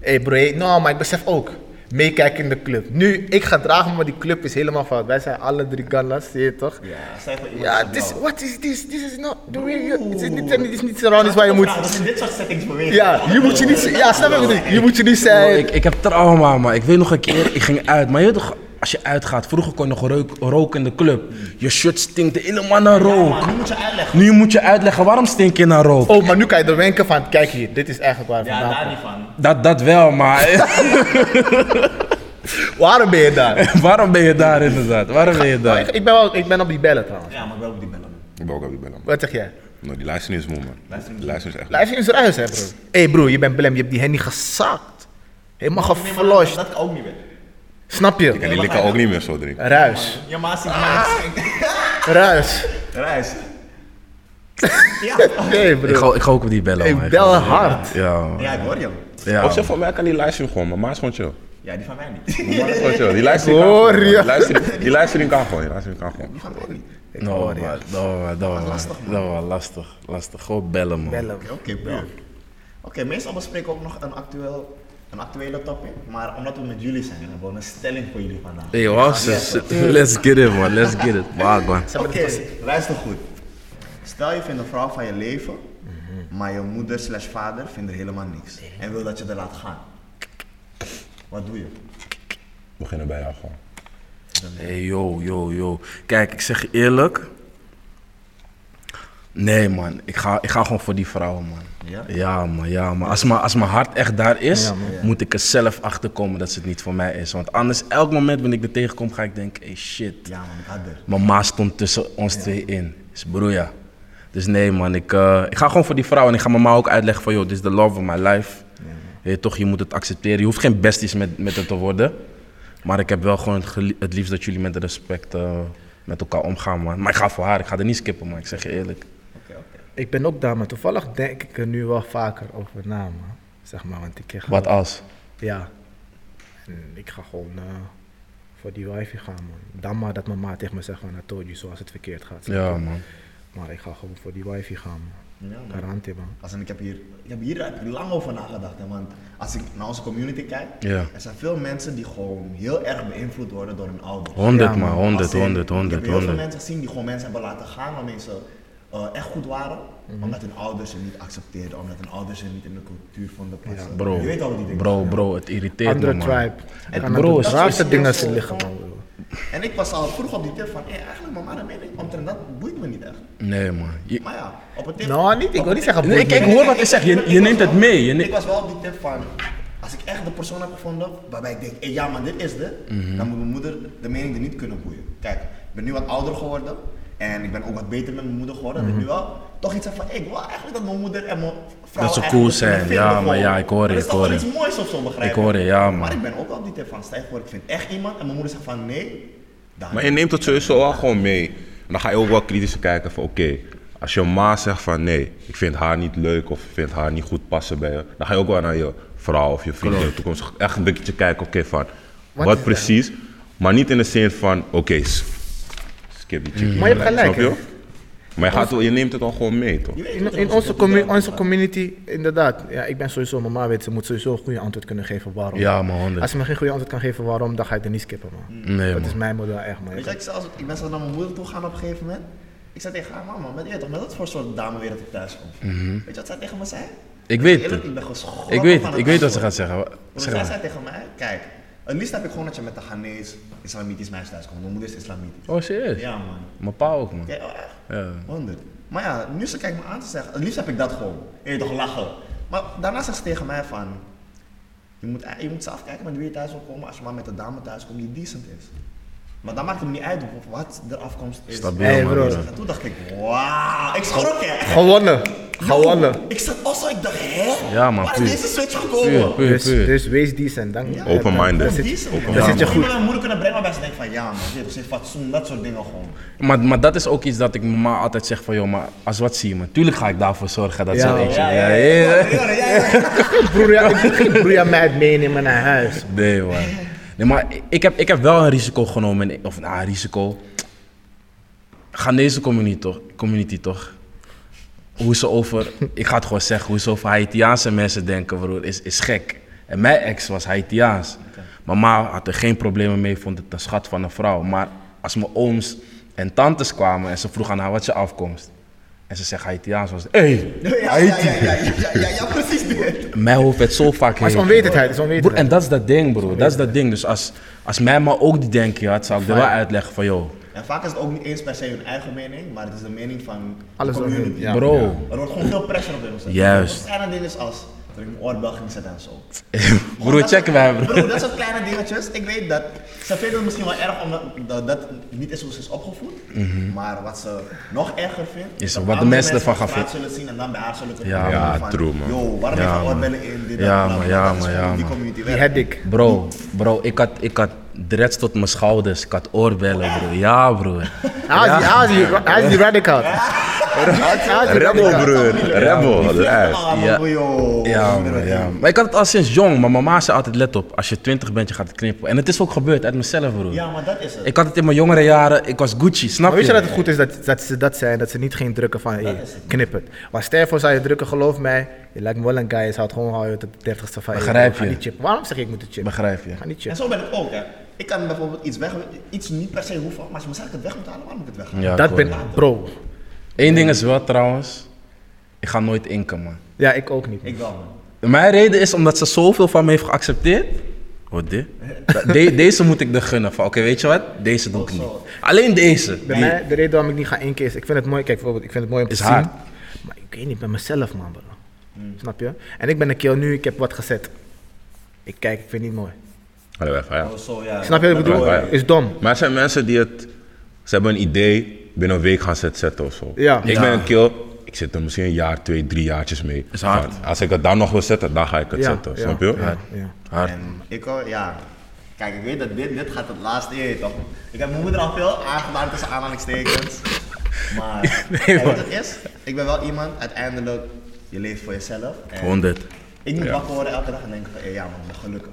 [SPEAKER 5] hey, bro, hey, nou, maar ik besef ook. Meekijken in de club. Nu, ik ga dragen, maar die club is helemaal fout. Wij zijn alle drie Ganla's, zie je toch?
[SPEAKER 3] Ja, Nou. zij voor iemand
[SPEAKER 5] Ja,
[SPEAKER 3] is
[SPEAKER 5] this,
[SPEAKER 3] op jou.
[SPEAKER 5] what is this? This is not the way you... Dit is niet, dit is niet surroundings waar je moet...
[SPEAKER 3] Vraag, Dat is in dit soort settings bewegen.
[SPEAKER 5] Ja, je moet je niet... Ja, snap je? wat ik bedoel? Je moet je niet
[SPEAKER 4] Bro,
[SPEAKER 5] zijn...
[SPEAKER 4] ik, ik heb trauma, man. Ik weet nog een keer, ik ging uit. Maar je weet toch, als je uitgaat, vroeger kon je nog rook, roken in de club. Je shirt stinkt helemaal naar rook.
[SPEAKER 3] Maar nu moet je uitleggen.
[SPEAKER 4] Nu moet je uitleggen, waarom stink je naar rook?
[SPEAKER 5] Oh, maar nu kan je er wenken van, kijk hier, dit is eigenlijk waar het
[SPEAKER 3] Ja,
[SPEAKER 5] vandaan
[SPEAKER 3] daar
[SPEAKER 5] komt.
[SPEAKER 3] niet van.
[SPEAKER 4] Dat, dat wel, maar
[SPEAKER 5] (laughs)
[SPEAKER 4] (laughs)
[SPEAKER 5] Waarom ben je
[SPEAKER 3] (laughs)
[SPEAKER 5] daar?
[SPEAKER 4] waarom ben je daar inderdaad? Waarom ben je
[SPEAKER 5] Maar
[SPEAKER 4] daar?
[SPEAKER 5] ik, ik, ben wel, ik ben op die bellen trouwens.
[SPEAKER 3] Ja, maar wel op die bellen.
[SPEAKER 6] Ik ben ook op die bellen.
[SPEAKER 5] Wat zeg jij?
[SPEAKER 6] No, Nou, die livestream is moe, man. Die livestream is echt moe.
[SPEAKER 5] Blijf je in zijn huis, hè, bro? Hé, hey, bro, je bent blem, je hebt die hennie gezakt. Helemaal
[SPEAKER 3] Nee, maar dat-
[SPEAKER 5] gefloshed.
[SPEAKER 3] Dat kan ook niet meer.
[SPEAKER 5] Snap
[SPEAKER 6] En
[SPEAKER 5] je?
[SPEAKER 6] die likken ook niet meer zo drinken.
[SPEAKER 5] Ruis.
[SPEAKER 3] Ja, maar als ik
[SPEAKER 5] Ah.
[SPEAKER 3] mij
[SPEAKER 5] Ruis.
[SPEAKER 3] Reis. Ja.
[SPEAKER 5] Nee,
[SPEAKER 4] Ik
[SPEAKER 5] bro.
[SPEAKER 4] ga, ik ga ook op die bellen, man.
[SPEAKER 5] Ik bel hard.
[SPEAKER 4] Ja, man.
[SPEAKER 3] Ja, ik hoor je.
[SPEAKER 4] Ja,
[SPEAKER 6] Of zeg,
[SPEAKER 4] man.
[SPEAKER 6] voor mij kan die livestream gewoon, maar maar is gewoon chill.
[SPEAKER 3] Ja, die van mij
[SPEAKER 5] (laughs)
[SPEAKER 3] niet.
[SPEAKER 6] Maar is gewoon chill. Die livestream kan
[SPEAKER 5] Hoor
[SPEAKER 6] gewoon.
[SPEAKER 5] je?
[SPEAKER 6] Die livestream- Die livestream kan gewoon, die livestream kan gewoon.
[SPEAKER 3] Oh,
[SPEAKER 5] Oh,
[SPEAKER 4] No, man. No, man. No, man. No, man. Lastig, lastig. Gewoon bellen, man.
[SPEAKER 5] Ah, Bellen. bro.
[SPEAKER 3] Oké, puur. Oké, meestal bespreken we ook nog een, actueel, een actuele topic. Maar omdat we met jullie zijn, hebben we een stelling voor jullie vandaag.
[SPEAKER 4] Hey, was, (laughs) let's get it, man. Let's get it. Waag, man.
[SPEAKER 3] Oké, luister goed. Stel je vindt een vrouw van je leven, maar je moeder slash vader vindt er helemaal niks. En wil dat je er laat gaan. Wat doe je?
[SPEAKER 6] We beginnen bij jou gewoon.
[SPEAKER 4] Hey, yo, yo, yo. Kijk, ik zeg je eerlijk. Nee, man. Ik ga, ik ga gewoon voor die vrouw, man.
[SPEAKER 3] Ja?
[SPEAKER 4] man. Ja, man. Als, mijn, als mijn hart echt daar is,
[SPEAKER 5] Ja, man.
[SPEAKER 4] moet ik er zelf achter komen dat ze het niet voor mij is. Want anders, elk moment wanneer ik er tegenkom, ga ik denken: hey, shit.
[SPEAKER 3] Ja man, ik had er.
[SPEAKER 4] Mijn ma stond tussen ons twee in. Is broeia. Dus nee, man. Ik, eh, ik ga gewoon voor die vrouw en ik ga mijn ma ook uitleggen: van, joh, dit is the love of my life. Weet je toch, je moet het accepteren. Je hoeft geen besties met, met het te worden. Maar ik heb wel gewoon het, geli- het liefst dat jullie met respect eh, met elkaar omgaan, man. Maar ik ga voor haar, ik ga er niet skippen, man. Ik zeg je eerlijk.
[SPEAKER 5] Ik ben ook daar, maar toevallig denk ik er nu wel vaker over na, man. Zeg maar, want ik ga...
[SPEAKER 4] Wat als?
[SPEAKER 5] Ja. En ik ga gewoon eh, voor die wifi gaan, man. Dan maar dat mijn ma tegen me zegt van, I told you, zoals het verkeerd gaat. zeg
[SPEAKER 4] Ja,
[SPEAKER 5] maar.
[SPEAKER 4] man.
[SPEAKER 5] Maar ik ga gewoon voor die wifi gaan, man.
[SPEAKER 3] Ja, man.
[SPEAKER 5] Garantie, man.
[SPEAKER 3] Als in, ik, heb hier, ik heb hier heb ik lang over nagedacht. Hè, want als ik naar onze community kijk,
[SPEAKER 4] Ja.
[SPEAKER 3] er zijn veel mensen die gewoon heel erg beïnvloed worden door hun ouders.
[SPEAKER 4] 100,
[SPEAKER 5] Ja,
[SPEAKER 4] man.
[SPEAKER 5] man.
[SPEAKER 4] 100,
[SPEAKER 3] Als in,
[SPEAKER 4] 100,
[SPEAKER 3] Ik heb
[SPEAKER 4] 100,
[SPEAKER 3] heel veel
[SPEAKER 4] 100.
[SPEAKER 3] mensen gezien die gewoon mensen hebben laten gaan waarmee ze eh, echt goed waren. Omdat hun ouders ze niet accepteerden, omdat hun ouders ze niet in de cultuur vonden passen.
[SPEAKER 4] Bro,
[SPEAKER 3] Je weet al die dingen.
[SPEAKER 4] bro, bro, het irriteert
[SPEAKER 5] Andere
[SPEAKER 4] me, man.
[SPEAKER 5] tribe.
[SPEAKER 4] Het
[SPEAKER 5] Kan
[SPEAKER 4] bro
[SPEAKER 5] aan
[SPEAKER 4] is-
[SPEAKER 5] de raarste
[SPEAKER 3] is-
[SPEAKER 5] dingen
[SPEAKER 3] is-
[SPEAKER 5] ze liggen, man. bro.
[SPEAKER 3] En ik was al vroeg op die tip van, hey, eigenlijk mama, de mening omtrent dat boeit me niet echt.
[SPEAKER 4] Nee, man. Je-
[SPEAKER 3] Maar ja, op het tip...
[SPEAKER 5] Nou, niet. Ik wil niet zeggen
[SPEAKER 4] Nee,
[SPEAKER 5] boeit
[SPEAKER 4] ik, ik
[SPEAKER 5] me.
[SPEAKER 4] hoor wat je zegt. Je, je neemt het mee. Je
[SPEAKER 3] Ik
[SPEAKER 4] neemt...
[SPEAKER 3] was wel op die tip van, als ik echt de persoon heb gevonden waarbij ik denk, hey,
[SPEAKER 4] Mhm.
[SPEAKER 3] ja maar dit is dit, dan moet mijn moeder de mening er niet kunnen boeien. Kijk, ik ben nu wat ouder geworden En ik ben ook wat beter met mijn moeder geworden.
[SPEAKER 4] Mhm.
[SPEAKER 3] Dat ik nu wel toch iets heb van, ik wil eigenlijk dat mijn moeder en mijn vrouw
[SPEAKER 4] Dat ze
[SPEAKER 3] eigenlijk
[SPEAKER 4] cool
[SPEAKER 3] dat ze me
[SPEAKER 4] zijn.
[SPEAKER 3] vinden
[SPEAKER 4] Ja,
[SPEAKER 3] gewoon.
[SPEAKER 4] maar ja, ik hoor je,
[SPEAKER 3] Dat is
[SPEAKER 4] ik
[SPEAKER 3] toch
[SPEAKER 4] hoor
[SPEAKER 3] wel
[SPEAKER 4] je.
[SPEAKER 3] iets moois of zo, begrijp
[SPEAKER 4] Ik hoor je, ja, man.
[SPEAKER 3] Maar ik ben ook wel die tip van, stijf voor, ik vind echt iemand. En mijn moeder zegt van, nee. Dan
[SPEAKER 6] Maar je neemt het sowieso wel gewoon mee. En dan ga je ook wel kritisch kijken van oké, als je ma zegt van nee, ik vind haar niet leuk of ik vind haar niet goed passen bij je, dan ga je ook wel naar je vrouw of je vrienden in de toekomst echt een beetje kijken oké van wat,
[SPEAKER 5] is
[SPEAKER 6] precies, maar niet in de zin van oké, s- skip die chick.
[SPEAKER 5] Mm. Maar je hebt gelijk,
[SPEAKER 6] Snap je?
[SPEAKER 5] hè?
[SPEAKER 6] Maar je, gaat, wel- je neemt het al gewoon mee toch?
[SPEAKER 5] In, in onze, commu- onze community, inderdaad. Ja, ik ben sowieso, mijn ma weet, ze moet sowieso een goede antwoord kunnen geven waarom.
[SPEAKER 4] Ja, man, honderd.
[SPEAKER 5] Als ze me geen goede antwoord kan geven waarom, dan ga ik er niet skippen, man.
[SPEAKER 4] Nee,
[SPEAKER 5] dat
[SPEAKER 4] man.
[SPEAKER 5] is mijn model echt, man.
[SPEAKER 3] Weet je, ik, zelfs, ik ben zelfs naar mijn moeder toe gaan op een gegeven moment. Ik zei tegen haar, mama, met, je weet toch, met wat voor soort dame weer dat ik thuis kom. Weet je wat zij tegen me zei?
[SPEAKER 4] Mhm. Ik weet
[SPEAKER 3] Eerlijk,
[SPEAKER 4] het.
[SPEAKER 3] Ik ben geschrokken
[SPEAKER 4] Ik weet
[SPEAKER 3] van
[SPEAKER 4] het,
[SPEAKER 3] het
[SPEAKER 4] ik weet wat ze
[SPEAKER 3] antwoord.
[SPEAKER 4] gaat zeggen.
[SPEAKER 3] Want
[SPEAKER 4] Zeg
[SPEAKER 3] zij
[SPEAKER 4] maar.
[SPEAKER 3] zei tegen mij, kijk, het liefst heb ik gewoon dat je met een Ghanese islamitisch meisje thuis komt. Mijn moeder is islamitisch.
[SPEAKER 4] Oh, serieus?
[SPEAKER 3] Ja man.
[SPEAKER 4] Mijn pa ook, man.
[SPEAKER 3] Ja, oh, echt?
[SPEAKER 4] Ja.
[SPEAKER 3] 100. Maar ja, nu ze kijkt me aan te zeggen, het liefst heb ik dat gewoon. Je weet toch lachen. Maar daarna zegt ze tegen mij van, je moet, je moet zelf kijken met wie je thuis wil komen als je maar met een dame thuis komt die decent is. Maar dan maakt het me niet uit of wat de afkomst is.
[SPEAKER 4] Stabiel,
[SPEAKER 5] Hey,
[SPEAKER 4] man.
[SPEAKER 5] bro.
[SPEAKER 4] ja.
[SPEAKER 3] En toen dacht ik, wauw, ik schrok hè.
[SPEAKER 5] Gewonnen. Gewonnen.
[SPEAKER 3] Ik zat al zo, ik dacht, hè?
[SPEAKER 4] Ja, man,
[SPEAKER 3] Waar is
[SPEAKER 4] puur.
[SPEAKER 3] deze switch
[SPEAKER 4] Puur,
[SPEAKER 3] gekomen?
[SPEAKER 4] puur,
[SPEAKER 5] Dus,
[SPEAKER 4] puur.
[SPEAKER 5] dus wees decent, dank
[SPEAKER 6] Open-minded.
[SPEAKER 5] Daar zit-
[SPEAKER 3] Decent, man.
[SPEAKER 5] daar zit je
[SPEAKER 3] Ik wil
[SPEAKER 5] goed.
[SPEAKER 3] mijn moeder kunnen brengen bij ze denkt van ja man, dit is fatsoen, dat soort dingen gewoon.
[SPEAKER 4] Maar, maar dat is ook iets dat ik mijn ma altijd zeg van, joh, maar als wat zie je me. Tuurlijk ga ik daarvoor zorgen dat
[SPEAKER 5] Ja,
[SPEAKER 4] ze eentje...
[SPEAKER 3] ja,
[SPEAKER 4] Ja, ja.
[SPEAKER 3] Ja, ja, ja.
[SPEAKER 5] Broer, ja, ik ik- broer, ja, mij het meenemen naar huis.
[SPEAKER 4] Nee, man. Nee, maar ik heb, ik heb wel een risico genomen. en- Of nou, een risico. Ghanese community toch, community toch? Hoe ze over, ik ga het gewoon zeggen, hoe ze over Haitiaanse mensen denken, broer, is, is gek. En mijn ex was Haitiaans. Mijn ma had er geen problemen mee, vond het een schat van een vrouw. Maar als mijn ooms en tantes kwamen en ze vroegen aan haar, wat is je afkomst? En ze zegt Haitiaans, was hé, hey,
[SPEAKER 3] Ja, ja, ja, ja, ja, ja, ja, precies dit.
[SPEAKER 4] mijn hoofd werd zo vaak
[SPEAKER 5] Maar het is
[SPEAKER 4] heen.
[SPEAKER 5] onwetendheid, het is
[SPEAKER 4] Broer, en
[SPEAKER 5] onwetendheid.
[SPEAKER 4] dat is dat ding, bro. Dat is dat ding. Dus als, als mijn ma ook die denken had, zou ik er wel uitleggen van, joh,
[SPEAKER 3] En vaak is het ook niet eens per se hun eigen mening, maar het is de mening van
[SPEAKER 5] Alles
[SPEAKER 3] de
[SPEAKER 5] om
[SPEAKER 3] community.
[SPEAKER 5] hun, ja.
[SPEAKER 4] bro.
[SPEAKER 3] Er wordt gewoon veel pressure op hun gezet.
[SPEAKER 4] Juist.
[SPEAKER 3] Dat kleine dingen is als dat ik mijn oorbel ging zetten en zo.
[SPEAKER 4] (laughs) Broer,
[SPEAKER 3] dat soort-
[SPEAKER 4] checken wij, bro.
[SPEAKER 3] Broer, dat soort kleine dingetjes. Ik weet dat ze vinden het misschien wel erg omdat dat, dat niet is hoe ze is opgevoed. Maar wat ze nog erger vindt,
[SPEAKER 4] Mhm. Is
[SPEAKER 3] dat
[SPEAKER 4] wat de
[SPEAKER 3] andere
[SPEAKER 4] mensen ervan gaan
[SPEAKER 3] op straat zullen zien en dan bij haar zullen kunnen
[SPEAKER 4] Ja,
[SPEAKER 3] denken
[SPEAKER 6] man.
[SPEAKER 3] van,
[SPEAKER 6] True, man.
[SPEAKER 3] Yo, waarom heeft
[SPEAKER 4] Ja,
[SPEAKER 3] je
[SPEAKER 4] man.
[SPEAKER 3] oorbellen in? Dit,
[SPEAKER 4] Ja,
[SPEAKER 3] dat,
[SPEAKER 4] man,
[SPEAKER 3] dat,
[SPEAKER 4] ja,
[SPEAKER 3] dat is
[SPEAKER 4] man,
[SPEAKER 3] gewoon
[SPEAKER 4] ja,
[SPEAKER 3] hoe die
[SPEAKER 4] man.
[SPEAKER 3] community
[SPEAKER 5] Die
[SPEAKER 3] werkt.
[SPEAKER 5] had ik.
[SPEAKER 4] Bro, bro, ik had, ik had dreads tot mijn schouders. Ik had oorbellen, bro. Ja, bro.
[SPEAKER 5] Hij is- hij is die- hij is die radical. Hij is die
[SPEAKER 6] Rebel
[SPEAKER 5] radical.
[SPEAKER 6] broer, rebel,
[SPEAKER 3] Die
[SPEAKER 6] lijf.
[SPEAKER 3] allemaal,
[SPEAKER 4] Ja.
[SPEAKER 3] broer, yo.
[SPEAKER 4] Ja, man, ja. Maar ik had het al sinds jong. Maar mijn ma zei altijd, let op, als je twintig bent, je gaat het knippen. En het is ook gebeurd uit mezelf, bro.
[SPEAKER 3] Ja, maar dat is het.
[SPEAKER 4] Ik had het in mijn jongere jaren, ik was Gucci, snap
[SPEAKER 5] Maar
[SPEAKER 4] je?
[SPEAKER 5] weet je dat het goed is dat, dat ze dat zijn, dat ze niet geen drukken van hey, knip het. Maar sterf voor zou je drukken, geloof mij. Je lijkt me wel een guy, je houdt gewoon houden tot de dertigste van
[SPEAKER 4] Begrijp
[SPEAKER 5] ga
[SPEAKER 4] je.
[SPEAKER 5] niet chippen. Waarom zeg je ik moet het chippen?
[SPEAKER 4] Begrijp je.
[SPEAKER 5] Ga niet
[SPEAKER 3] En
[SPEAKER 5] chippen.
[SPEAKER 3] zo ben ik ook, hè. Ik kan bijvoorbeeld iets weg, iets niet per se hoeven, maar als je me zegt dat ik het weg moet halen, waarom moet ik het weghalen?
[SPEAKER 4] Ja,
[SPEAKER 5] dat
[SPEAKER 4] klopt,
[SPEAKER 5] ben
[SPEAKER 4] man.
[SPEAKER 5] bro.
[SPEAKER 4] Eén ding is wel trouwens, ik ga nooit inken, man.
[SPEAKER 5] Ja, ik ook niet.
[SPEAKER 3] Ik wel, man.
[SPEAKER 4] Mijn reden is omdat ze zoveel van me heeft geaccepteerd. Wat dit? De- deze moet ik er gunnen. Van, Oké, weet je wat? Deze doe ik niet. Alleen deze.
[SPEAKER 5] Bij mij, de reden waarom ik niet ga inkeer is, ik vind het mooi, kijk bijvoorbeeld, ik vind het mooi om te
[SPEAKER 4] Is
[SPEAKER 5] zien.
[SPEAKER 4] hard. Hmm.
[SPEAKER 5] Maar ik weet niet, bij mezelf man, bro. Snap je? En ik ben een keel nu, ik heb wat gezet. Ik kijk, ik vind het niet mooi.
[SPEAKER 6] Hallo even, ja.
[SPEAKER 3] Oh, zo, ja.
[SPEAKER 5] Snap je wat ik
[SPEAKER 6] Dat
[SPEAKER 5] bedoel?
[SPEAKER 6] hoor je.
[SPEAKER 5] Is dom.
[SPEAKER 6] Maar er zijn mensen die het, ze hebben een idee, binnen een week gaan ze het zetten of zo.
[SPEAKER 5] Ja.
[SPEAKER 6] Ik
[SPEAKER 4] Ja.
[SPEAKER 6] ben een kill, ik zit er misschien een jaar, twee, drie jaartjes mee.
[SPEAKER 4] Is hard.
[SPEAKER 6] Van, als ik het dan nog wil zetten, dan ga ik het
[SPEAKER 5] Ja,
[SPEAKER 6] zetten,
[SPEAKER 5] ja,
[SPEAKER 6] snap je?
[SPEAKER 5] Ja, ja.
[SPEAKER 4] Hard.
[SPEAKER 3] En ik hoor, ja. Kijk, ik weet dat dit, dit gaat het laatste eer, toch? Ik heb mijn moeder al veel aangedaan tussen
[SPEAKER 4] (laughs)
[SPEAKER 3] aanhalingstekens. Maar, en
[SPEAKER 4] man.
[SPEAKER 3] weet je wat het is? Ik ben wel iemand, uiteindelijk, je leeft voor jezelf. En
[SPEAKER 4] 100.
[SPEAKER 3] Ik moet wakker worden elke dag en denken van, hé, ja man, ik ben gelukkig.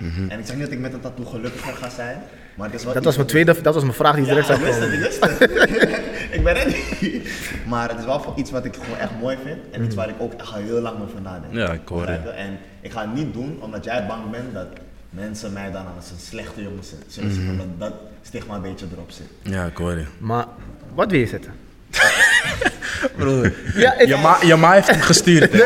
[SPEAKER 4] Mhm.
[SPEAKER 3] En ik zeg niet dat ik met een tattoo gelukkiger ga zijn, maar het is wel
[SPEAKER 5] Dat
[SPEAKER 3] iets-
[SPEAKER 5] was mijn tweede, dat was mijn vraag die
[SPEAKER 3] Ja,
[SPEAKER 5] direct
[SPEAKER 3] ik
[SPEAKER 5] zou
[SPEAKER 3] wist het, ik wist
[SPEAKER 5] komen.
[SPEAKER 3] het. ik ben ready. Maar het is wel voor iets wat ik gewoon echt mooi vind. En iets waar ik ook echt al heel lang mee vandaan denk.
[SPEAKER 4] Ja, ik hoor je.
[SPEAKER 3] Begrijp je? En ik ga het niet doen omdat jij bang bent dat mensen mij dan als een slechte jongen zi- zullen zien. Omdat dat stigma een beetje erop zit.
[SPEAKER 4] Ja, ik hoor je.
[SPEAKER 5] Maar wat wil je zetten?
[SPEAKER 4] Broer,
[SPEAKER 5] Ja, ik-
[SPEAKER 4] je, ma, je ma heeft hem gestuurd. hè?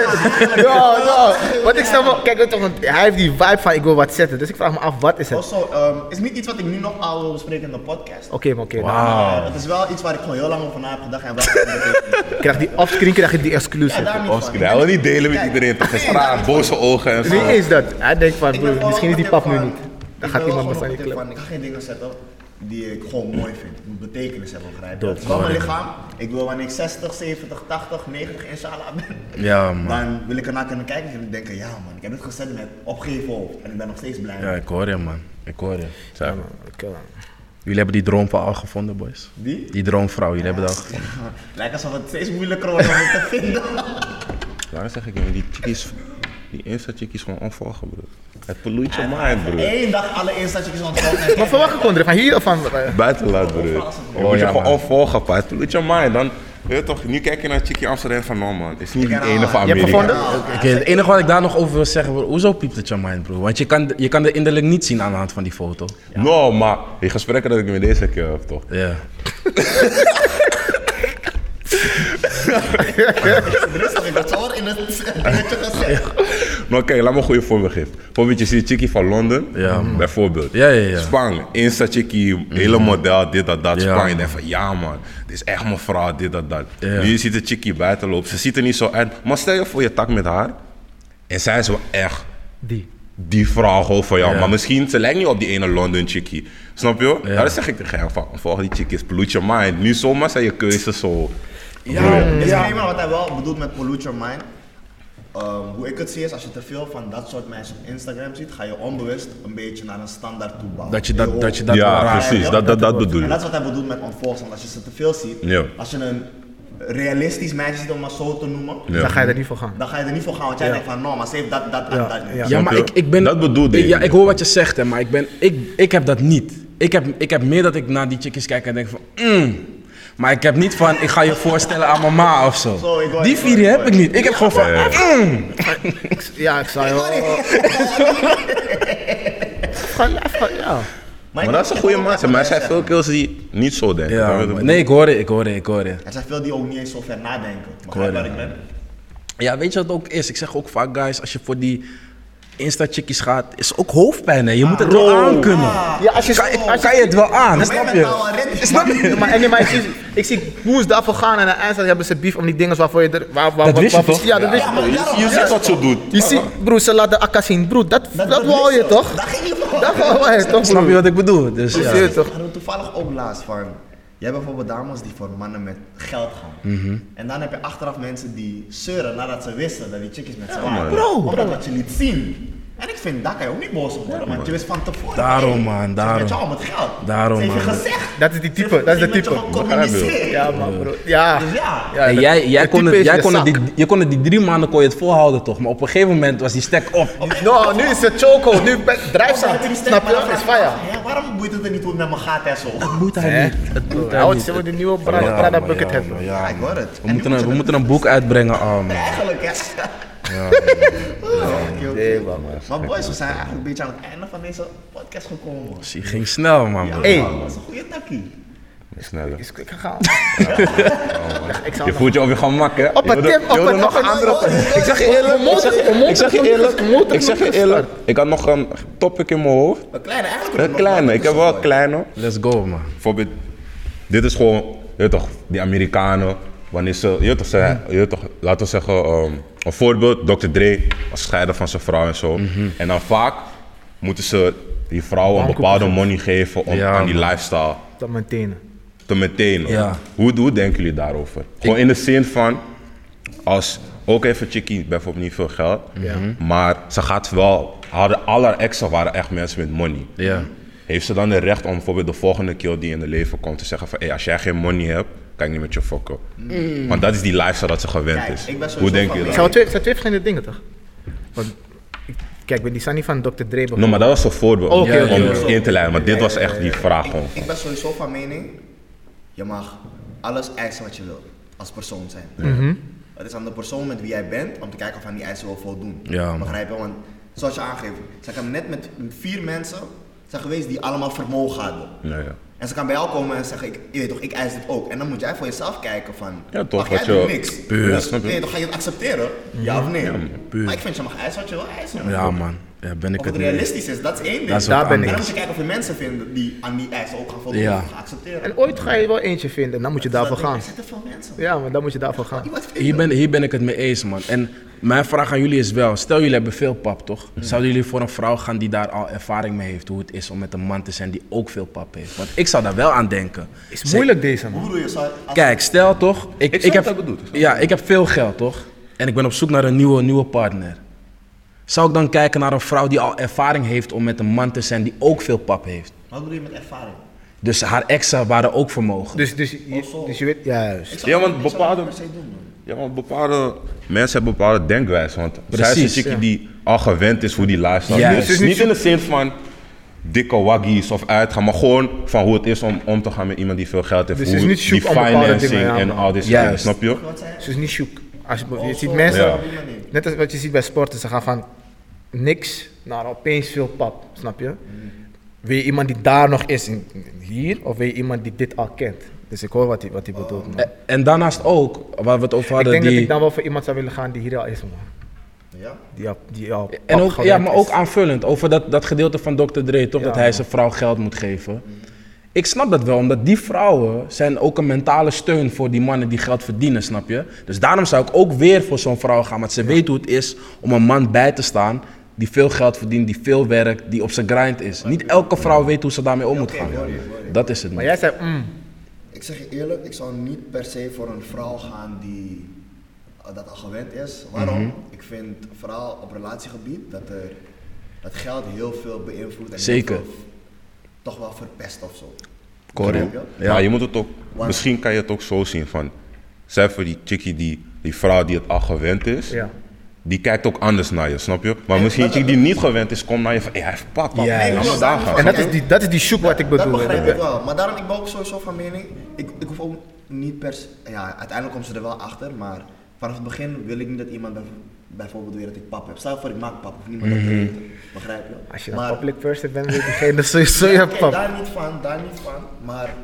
[SPEAKER 5] Ja, ja. Want ik stel me, kijk, weet toch, want hij heeft die vibe van ik wil wat zetten. Dus ik vraag me af, wat is het? Oké,
[SPEAKER 3] Also, ehm is niet iets wat ik nu nog al wil bespreken in de podcast.
[SPEAKER 5] maar oké. nou,
[SPEAKER 4] Wauw.
[SPEAKER 6] Ah.
[SPEAKER 3] Maar het is wel iets waar ik gewoon heel lang over na heb gedacht. En wel
[SPEAKER 5] ik Krijg die offscreen, krijg je die
[SPEAKER 3] ja,
[SPEAKER 5] exclusive.
[SPEAKER 3] daar niet
[SPEAKER 6] Of
[SPEAKER 3] van.
[SPEAKER 6] ik wil niet delen met
[SPEAKER 3] Kijk,
[SPEAKER 6] iedereen, toch?
[SPEAKER 3] nee,
[SPEAKER 6] Straat, boze ogen en
[SPEAKER 5] Wie
[SPEAKER 6] zo.
[SPEAKER 5] is dat? Hij denkt van,
[SPEAKER 3] Ik
[SPEAKER 5] broer,
[SPEAKER 3] ben
[SPEAKER 5] misschien is die
[SPEAKER 3] gewoon
[SPEAKER 5] pap nu
[SPEAKER 3] op
[SPEAKER 5] niet.
[SPEAKER 3] het tip
[SPEAKER 5] Dan
[SPEAKER 3] van,
[SPEAKER 5] gaat
[SPEAKER 3] ik ben wel
[SPEAKER 5] iemand me
[SPEAKER 3] gewoon
[SPEAKER 5] aan je
[SPEAKER 3] op het tip
[SPEAKER 5] club.
[SPEAKER 3] van, Ik ga geen dingen zetten. die ik gewoon mooi vind. Het moet betekenis hebben, begrijp je?
[SPEAKER 4] Dope,
[SPEAKER 3] Het is wel mijn
[SPEAKER 4] man.
[SPEAKER 3] lichaam. Ik wil wanneer ik 60, 70, 80, 90 inshallah ben.
[SPEAKER 4] Ja, man.
[SPEAKER 3] Dan wil ik ernaar kunnen kijken en denken, ja man, ik heb het gezet met opgeven hoofd. En ik ben nog steeds blij.
[SPEAKER 4] Ja, ik hoor je, man. Ik hoor je. Zeg,
[SPEAKER 5] man, ik, eh,
[SPEAKER 4] Jullie hebben die droomvrouw al gevonden, boys.
[SPEAKER 3] Die?
[SPEAKER 4] Die droomvrouw, jullie hebben dat al gevonden.
[SPEAKER 3] (laughs) Lijkt alsof het steeds moeilijker wordt om het te
[SPEAKER 5] (laughs)
[SPEAKER 3] vinden.
[SPEAKER 6] Daarom zeg ik, man, die chickies, die Insta-chickies gewoon onvolgen, broer. Het pollute je mind, broer.
[SPEAKER 3] Eén dag allereerst dat je iets ontvangt.
[SPEAKER 5] Maar van welke country? Van hier of van... eh,
[SPEAKER 6] Buitenland, broer. Je moet je
[SPEAKER 4] ja,
[SPEAKER 6] gewoon
[SPEAKER 4] man.
[SPEAKER 6] onvolgen, pa. Het pollute je mind. Dan, je weet toch, nu kijk je naar chickie Amsterdam van, no man, is niet die
[SPEAKER 3] ken haar.
[SPEAKER 6] ene van
[SPEAKER 5] Je hebt
[SPEAKER 6] Amerika.
[SPEAKER 5] gevonden?
[SPEAKER 4] Oké, het enige wat ik daar nog over wil zeggen, broer, hoezo piept het je mind, broer? Want je kan, je kan de innerlijk niet zien aan de hand van die foto.
[SPEAKER 6] No, maar die gesprekken dat ik met deze keer heb, toch? (laughs)
[SPEAKER 4] Ja.
[SPEAKER 3] Rustig, ik word zo in het dingetje gezet.
[SPEAKER 6] Maar oké, laat me een goede voorbeeld geven. Bijvoorbeeld, je ziet een chickie van Londen,
[SPEAKER 4] Ja, man.
[SPEAKER 6] bijvoorbeeld.
[SPEAKER 4] Ja, ja, ja.
[SPEAKER 6] Spang, Insta-chickie, hele model, dit, dat, dat.
[SPEAKER 4] Ja,
[SPEAKER 6] Spang, je
[SPEAKER 4] man.
[SPEAKER 6] denkt van, ja man, dit is echt mijn vrouw, dit, dat, dat.
[SPEAKER 4] Ja.
[SPEAKER 6] Nu je ziet de chickie buiten lopen, ze ziet er niet zo uit. Maar stel je voor, je tak met haar en zij is wel echt
[SPEAKER 5] Die.
[SPEAKER 6] die vrouw gewoon van jou.
[SPEAKER 4] Ja.
[SPEAKER 6] Maar misschien, ze lijkt niet op die ene London chickie. Snap je?
[SPEAKER 4] Ja.
[SPEAKER 6] Daar zeg ik tegen hem van, volg die chickies, pollute your mind. Nu zomaar zijn je keuzes zo. Broer.
[SPEAKER 3] Disclaimer, wat hij wel bedoelt met pollute your mind. Ehm, hoe ik het zie is, als je te veel van dat soort mensen op Instagram ziet, ga je onbewust een beetje naar een standaard toe bouwen.
[SPEAKER 4] Dat je dat-
[SPEAKER 3] Heel
[SPEAKER 4] dat je
[SPEAKER 3] hoog.
[SPEAKER 4] dat
[SPEAKER 6] Ja,
[SPEAKER 4] wel raakt.
[SPEAKER 6] precies.
[SPEAKER 3] Ja,
[SPEAKER 6] dat, dat, dat bedoel
[SPEAKER 3] En
[SPEAKER 6] ik.
[SPEAKER 3] dat is wat hij bedoelt met ontvolgens, want als je ze te veel ziet,
[SPEAKER 6] Ja.
[SPEAKER 3] als je een realistisch meisje ziet, om maar zo te noemen,
[SPEAKER 6] Ja.
[SPEAKER 5] Dan ga je er niet voor gaan.
[SPEAKER 3] dan ga je er niet voor gaan, want jij denkt van, no, maar ze heeft dat, dat,
[SPEAKER 5] Ja,
[SPEAKER 3] dat, dat.
[SPEAKER 5] ja.
[SPEAKER 4] Ja, maar
[SPEAKER 6] je?
[SPEAKER 4] ik, ik ben...
[SPEAKER 6] Dat bedoelde
[SPEAKER 4] ik.
[SPEAKER 6] ik.
[SPEAKER 4] Ja, ik hoor wat je zegt, hè, maar ik, ben, ik, ik heb dat niet. Ik heb, ik heb meer dat ik naar die chickies kijk en denk van... Mm. Maar ik heb niet van, ik ga je voorstellen aan mama of zo.
[SPEAKER 3] Zo, ik hoor
[SPEAKER 4] die
[SPEAKER 3] je, ik hoor
[SPEAKER 4] vier
[SPEAKER 3] je,
[SPEAKER 4] heb
[SPEAKER 3] ik
[SPEAKER 4] ik
[SPEAKER 3] hoor
[SPEAKER 4] niet. Ik heb gewoon van...
[SPEAKER 6] Ja,
[SPEAKER 4] mm.
[SPEAKER 5] Ja, ik zou wel... Gewoon, even- ja.
[SPEAKER 6] Maar dat is een goede maat. Maar er zijn veel kills die niet zo denken.
[SPEAKER 4] Ja,
[SPEAKER 6] Dat weet
[SPEAKER 4] man.
[SPEAKER 6] ik
[SPEAKER 4] nee, ik hoor het, ik hoor het, ik hoor het.
[SPEAKER 3] Er zijn veel die ook niet eens zo ver nadenken.
[SPEAKER 4] hoor
[SPEAKER 3] Begrijp waar
[SPEAKER 4] je,
[SPEAKER 3] ik ben?
[SPEAKER 4] Ja, weet je wat het ook is? Ik zeg ook vaak, guys, als je voor die Insta-chickies gaat, is ook hoofdpijn, hè. Je moet het
[SPEAKER 3] Ah,
[SPEAKER 4] wel aan kunnen.
[SPEAKER 5] Ja, als je...
[SPEAKER 4] Kan, je-
[SPEAKER 5] als je-
[SPEAKER 4] kan je het wel aan,
[SPEAKER 3] Ben
[SPEAKER 4] snap
[SPEAKER 3] je mentaal
[SPEAKER 4] je?
[SPEAKER 3] al ready?
[SPEAKER 4] Snap je?
[SPEAKER 5] Maar, en nee, maar ik zie, ik zie boers daarvoor gaan en aan eindstand hebben ze beef om die dingen waarvoor je er... Waar, waar,
[SPEAKER 4] Dat wist je
[SPEAKER 5] waarvoor-
[SPEAKER 4] toch?
[SPEAKER 5] Ja, dat wist
[SPEAKER 3] maar
[SPEAKER 5] je.
[SPEAKER 3] daarom-
[SPEAKER 6] Je ziet wat ze doet.
[SPEAKER 5] Je ziet, broer, ze laten akka zien. Broer, dat, dat, wou
[SPEAKER 3] wist
[SPEAKER 5] je toch?
[SPEAKER 3] Dat ging je voor.
[SPEAKER 5] Dat wou je toch,
[SPEAKER 4] Snap je
[SPEAKER 5] broer?
[SPEAKER 4] wat ik bedoel? Dus,
[SPEAKER 5] Je
[SPEAKER 4] ja.
[SPEAKER 5] ziet het toch?
[SPEAKER 3] Ik had er toevallig ook laatst van. Je hebt bijvoorbeeld dames die voor mannen met geld gaan.
[SPEAKER 4] Mhm.
[SPEAKER 3] En dan heb je achteraf mensen die zeuren nadat ze wisten dat die chickies met ze waren.
[SPEAKER 6] Bro,
[SPEAKER 3] Omdat dat je niet zien. En ik vind, daar kan je ook niet boos op worden, want je wist van tevoren.
[SPEAKER 4] Daarom,
[SPEAKER 3] hey,
[SPEAKER 4] man,
[SPEAKER 3] ze is
[SPEAKER 4] daarom.
[SPEAKER 3] Met jou om het geld.
[SPEAKER 4] Daarom,
[SPEAKER 3] Ze heeft je
[SPEAKER 4] man.
[SPEAKER 3] gezegd. Dus
[SPEAKER 5] Dat is die type,
[SPEAKER 3] Ze-
[SPEAKER 5] dat is
[SPEAKER 3] ze
[SPEAKER 5] de
[SPEAKER 3] heeft
[SPEAKER 5] type.
[SPEAKER 3] met je gecommuniceerd.
[SPEAKER 5] Ja, man, broer. Ja.
[SPEAKER 3] Dus ja.
[SPEAKER 5] Ja,
[SPEAKER 4] En
[SPEAKER 5] dat-
[SPEAKER 4] jij, jij
[SPEAKER 5] dat
[SPEAKER 4] kon
[SPEAKER 5] type
[SPEAKER 4] het,
[SPEAKER 5] is
[SPEAKER 4] jij
[SPEAKER 5] je
[SPEAKER 4] kon het
[SPEAKER 5] zak.
[SPEAKER 4] die, je kon het die drie maanden kon je het volhouden toch, maar op een gegeven moment was die stek op.
[SPEAKER 5] Nou, nu is het choco, nu ben- drijfzand.
[SPEAKER 3] Omdat die stem
[SPEAKER 5] Snap
[SPEAKER 3] maar
[SPEAKER 5] je?
[SPEAKER 3] dan
[SPEAKER 5] Is
[SPEAKER 3] vraagt,
[SPEAKER 5] fire.
[SPEAKER 3] ja, Waarom boeit het er niet hoe het met mijn gaat en zo?
[SPEAKER 4] Moet hij niet. Het moet
[SPEAKER 5] Hij
[SPEAKER 4] hij
[SPEAKER 5] wordt
[SPEAKER 4] niet.
[SPEAKER 5] ze worden de nieuwe Prada Prada Bucket hebben.
[SPEAKER 3] Ja, ik hoor het.
[SPEAKER 4] We moeten, een, we moeten een boek uitbrengen, oh man.
[SPEAKER 3] Eigenlijk, hè? (laughs) Ja. Maar boys, we zijn eigenlijk een beetje aan het einde van deze podcast gekomen. man.
[SPEAKER 4] Die ging snel, man. bro.
[SPEAKER 5] Hey.
[SPEAKER 3] Man, Dat is een goede takkie.
[SPEAKER 6] Sneller.
[SPEAKER 5] Is- Ik ga gaan. Ik zou
[SPEAKER 6] Je
[SPEAKER 5] nog-
[SPEAKER 6] voelt je op je gemak, hè?
[SPEAKER 5] Op een tip, op een op een-
[SPEAKER 6] Ik zeg je eerlijk, ik zeg, ik zeg je eerlijk, ik zeg je eerlijk, ik had nog een topic in mijn hoofd.
[SPEAKER 3] Een kleine, eigenlijk
[SPEAKER 6] Een kleine, ik heb wel een kleine.
[SPEAKER 4] Let's go, man.
[SPEAKER 6] Bijvoorbeeld, dit is gewoon, je weet toch, die Amerikanen, wanneer ze, je weet toch, ze,
[SPEAKER 4] Mhm.
[SPEAKER 6] je weet toch laten we zeggen, ehm, een voorbeeld, Dr. Dre was scheiden van zijn vrouw en zo.
[SPEAKER 4] Mhm.
[SPEAKER 6] En dan vaak moeten ze die vrouwen een bepaalde money geven om
[SPEAKER 4] Ja,
[SPEAKER 6] aan die
[SPEAKER 4] man.
[SPEAKER 6] lifestyle
[SPEAKER 5] Tot mijn tenen.
[SPEAKER 6] te meteen.
[SPEAKER 4] Ja.
[SPEAKER 6] Hoe, hoe denken jullie daarover? Gewoon in de zin van, als ook even Chickie bijvoorbeeld niet veel geld, Mhm. maar ze gaat wel, hadden alle exen waren echt mensen met money.
[SPEAKER 4] Ja.
[SPEAKER 6] Heeft ze dan het recht om bijvoorbeeld de volgende keer die in het leven komt te zeggen van, hey, als jij geen money hebt, kan ik niet met je fokken. Want dat is die lifestyle dat ze gewend
[SPEAKER 3] Mm. Kijk,
[SPEAKER 6] is.
[SPEAKER 3] ik ben sowieso
[SPEAKER 6] Hoe denk
[SPEAKER 3] van
[SPEAKER 6] je
[SPEAKER 3] mening-
[SPEAKER 5] Het zijn
[SPEAKER 6] dat?
[SPEAKER 5] wel twee, het zijn twee verschillende dingen toch? Want, kijk, die zijn niet van Dr. Dre. begonnen.
[SPEAKER 6] No, maar dat was een voorbeeld om-
[SPEAKER 5] Oké, oké,
[SPEAKER 6] om
[SPEAKER 5] oké.
[SPEAKER 6] het in te leiden, maar dit was echt die vraag gewoon.
[SPEAKER 3] Ik ben sowieso van mening, je mag alles eisen wat je wil als persoon zijn.
[SPEAKER 6] Mhm.
[SPEAKER 3] Het is aan de persoon met wie jij bent om te kijken of hij die eisen wil voldoen.
[SPEAKER 4] Ja, man.
[SPEAKER 3] Begrijp je? Want zoals je aangeeft, ze kan net met vier mensen zijn geweest die allemaal vermogen hadden.
[SPEAKER 6] Ja, ja.
[SPEAKER 3] En ze kan bij jou komen en zeggen, ik, je weet toch, ik eis dit ook. En dan moet jij voor jezelf kijken van,
[SPEAKER 6] Ja, toch,
[SPEAKER 3] mag jij
[SPEAKER 6] wat je-
[SPEAKER 3] doet niks.
[SPEAKER 6] Puur.
[SPEAKER 3] Dus,
[SPEAKER 6] Snap je? Mhm.
[SPEAKER 3] nee, toch ga je het accepteren? Ja of nee?
[SPEAKER 6] man, puur.
[SPEAKER 3] maar ik vind, je mag eisen wat je wil eisen.
[SPEAKER 4] Ja, man. Ja, ben ik
[SPEAKER 3] Of
[SPEAKER 4] het
[SPEAKER 3] het
[SPEAKER 4] niet.
[SPEAKER 3] realistisch is, dat is één ding.
[SPEAKER 4] Dat is
[SPEAKER 5] Daar
[SPEAKER 4] wat
[SPEAKER 5] ben ik.
[SPEAKER 3] En dan moet
[SPEAKER 4] anders.
[SPEAKER 3] je kijken of je mensen vinden die aan die eisen ook gaan voldoen
[SPEAKER 4] Ja.
[SPEAKER 3] of gaan accepteren.
[SPEAKER 5] En ooit ga je wel eentje vinden, dan moet je daarvoor
[SPEAKER 3] Dat denk ik, Er
[SPEAKER 5] gaan.
[SPEAKER 3] zitten veel mensen.
[SPEAKER 5] Ja, maar dan moet je daarvoor gaan.
[SPEAKER 3] Wat vind je?
[SPEAKER 4] Hier ben, hier ben ik het mee eens, man. En mijn vraag aan jullie is wel: stel jullie hebben veel pap, toch?
[SPEAKER 5] Mhm.
[SPEAKER 4] Zouden jullie voor een vrouw gaan die daar al ervaring mee heeft, hoe het is om met een man te zijn die ook veel pap heeft? Want ik zou daar wel aan denken.
[SPEAKER 5] Is
[SPEAKER 4] Ze-
[SPEAKER 5] moeilijk deze
[SPEAKER 3] Hoe
[SPEAKER 5] man.
[SPEAKER 3] doe je zo? als-
[SPEAKER 4] Kijk, stel toch, ik,
[SPEAKER 6] snap
[SPEAKER 4] ik heb,
[SPEAKER 6] wat je bedoelt, ik snap
[SPEAKER 4] ja, ik heb veel geld, toch? En ik ben op zoek naar een nieuwe, nieuwe partner. Zou ik dan kijken naar een vrouw die al ervaring heeft om met een man te zijn die ook veel pap heeft?
[SPEAKER 3] Wat bedoel je met ervaring?
[SPEAKER 4] Dus haar exen waren ook vermogen.
[SPEAKER 5] Dus, dus, je, dus je weet, juist.
[SPEAKER 6] Ja, want bepaalde, ja, want bepaalde mensen hebben bepaalde denkwijze. Want zij
[SPEAKER 4] Precies,
[SPEAKER 6] is een chickie
[SPEAKER 4] ja.
[SPEAKER 6] die al gewend is hoe die lifestyle
[SPEAKER 4] Juist.
[SPEAKER 6] is.
[SPEAKER 4] Dus
[SPEAKER 6] Dus niet in de zin van dikke waggies of uitgaan, maar gewoon van hoe het is om om te gaan met iemand die veel geld heeft.
[SPEAKER 5] Dus
[SPEAKER 6] hoe
[SPEAKER 5] het is niet
[SPEAKER 6] die
[SPEAKER 5] zoek aan bepaalde
[SPEAKER 6] financing
[SPEAKER 5] dingen, ja,
[SPEAKER 6] en
[SPEAKER 5] man.
[SPEAKER 6] al dit shit,
[SPEAKER 4] Juist.
[SPEAKER 6] snap je?
[SPEAKER 5] Dus het is niet zoek. Als je, je ziet mensen,
[SPEAKER 6] Ja.
[SPEAKER 5] net als wat je ziet bij sporters, ze gaan van niks naar opeens veel pap, snap je? Wil je iemand die daar nog is, in- in- hier, of wil je iemand die dit al kent? Dus ik hoor wat hij, wat hij bedoelt, man.
[SPEAKER 4] En- En daarnaast ook, waar we het over
[SPEAKER 5] Ik
[SPEAKER 4] hadden,
[SPEAKER 5] denk dat
[SPEAKER 4] die...
[SPEAKER 5] ik dan wel voor iemand zou willen gaan die hier al is, man.
[SPEAKER 3] Ja?
[SPEAKER 5] Die al, die al pap
[SPEAKER 4] En ook, ja,
[SPEAKER 5] gewend
[SPEAKER 4] maar
[SPEAKER 5] is.
[SPEAKER 4] ook aanvullend over dat, dat gedeelte van Dr. Dre, toch?
[SPEAKER 5] Ja,
[SPEAKER 4] dat hij
[SPEAKER 5] man.
[SPEAKER 4] zijn vrouw geld moet geven. Ik snap dat wel, omdat die vrouwen zijn ook een mentale steun voor die mannen die geld verdienen, snap je? Dus daarom zou ik ook weer voor zo'n vrouw gaan, want ze weet hoe het is om een man bij te staan die veel geld verdient, die veel werkt, die op zijn grind is. Niet elke vrouw weet hoe ze daarmee om moet gaan. Dat is het.
[SPEAKER 5] Maar
[SPEAKER 4] niet.
[SPEAKER 5] jij zei, mm,
[SPEAKER 3] Ik zeg je eerlijk, ik zou niet per se voor een vrouw gaan die eh, dat al gewend is. Waarom? Ik vind vooral op relatiegebied dat, er, dat geld heel veel beïnvloedt. En
[SPEAKER 4] Zeker.
[SPEAKER 3] Heel veel, toch wel verpest of zo.
[SPEAKER 4] Correct.
[SPEAKER 3] Snap je?
[SPEAKER 4] Ja.
[SPEAKER 6] Maar je moet het ook,
[SPEAKER 3] Waar-
[SPEAKER 6] misschien kan je het ook zo zien van, zij voor die chickie die, die vrouw die het al gewend is,
[SPEAKER 5] ja.
[SPEAKER 6] die kijkt ook anders naar je, snap je? Maar
[SPEAKER 3] Ja,
[SPEAKER 6] misschien een
[SPEAKER 3] maar
[SPEAKER 6] chickie die
[SPEAKER 3] dat-
[SPEAKER 6] niet gewend is, komt naar je van, hé, hij heeft pap, pap,
[SPEAKER 4] Ja,
[SPEAKER 6] laat
[SPEAKER 4] ja.
[SPEAKER 6] me daar gaan.
[SPEAKER 5] En dat is die, dat is die zoek wat ik bedoel.
[SPEAKER 3] Dat begrijp ik
[SPEAKER 5] inderdaad.
[SPEAKER 3] wel. Maar daarom, ik ben ook sowieso van mening, ik, ik hoef ook niet per se, ja, uiteindelijk komt ze er wel achter, maar vanaf het begin wil ik niet dat iemand bijv- bijvoorbeeld weer dat ik pap heb. Stel voor ik maak pap, of niemand dat te weten. Begrijp je?
[SPEAKER 5] Als je dan
[SPEAKER 3] Maar-
[SPEAKER 5] public person bent, weet diegene sowieso je
[SPEAKER 3] Kijk,
[SPEAKER 5] pap.
[SPEAKER 3] daar niet van, daar niet van. Maar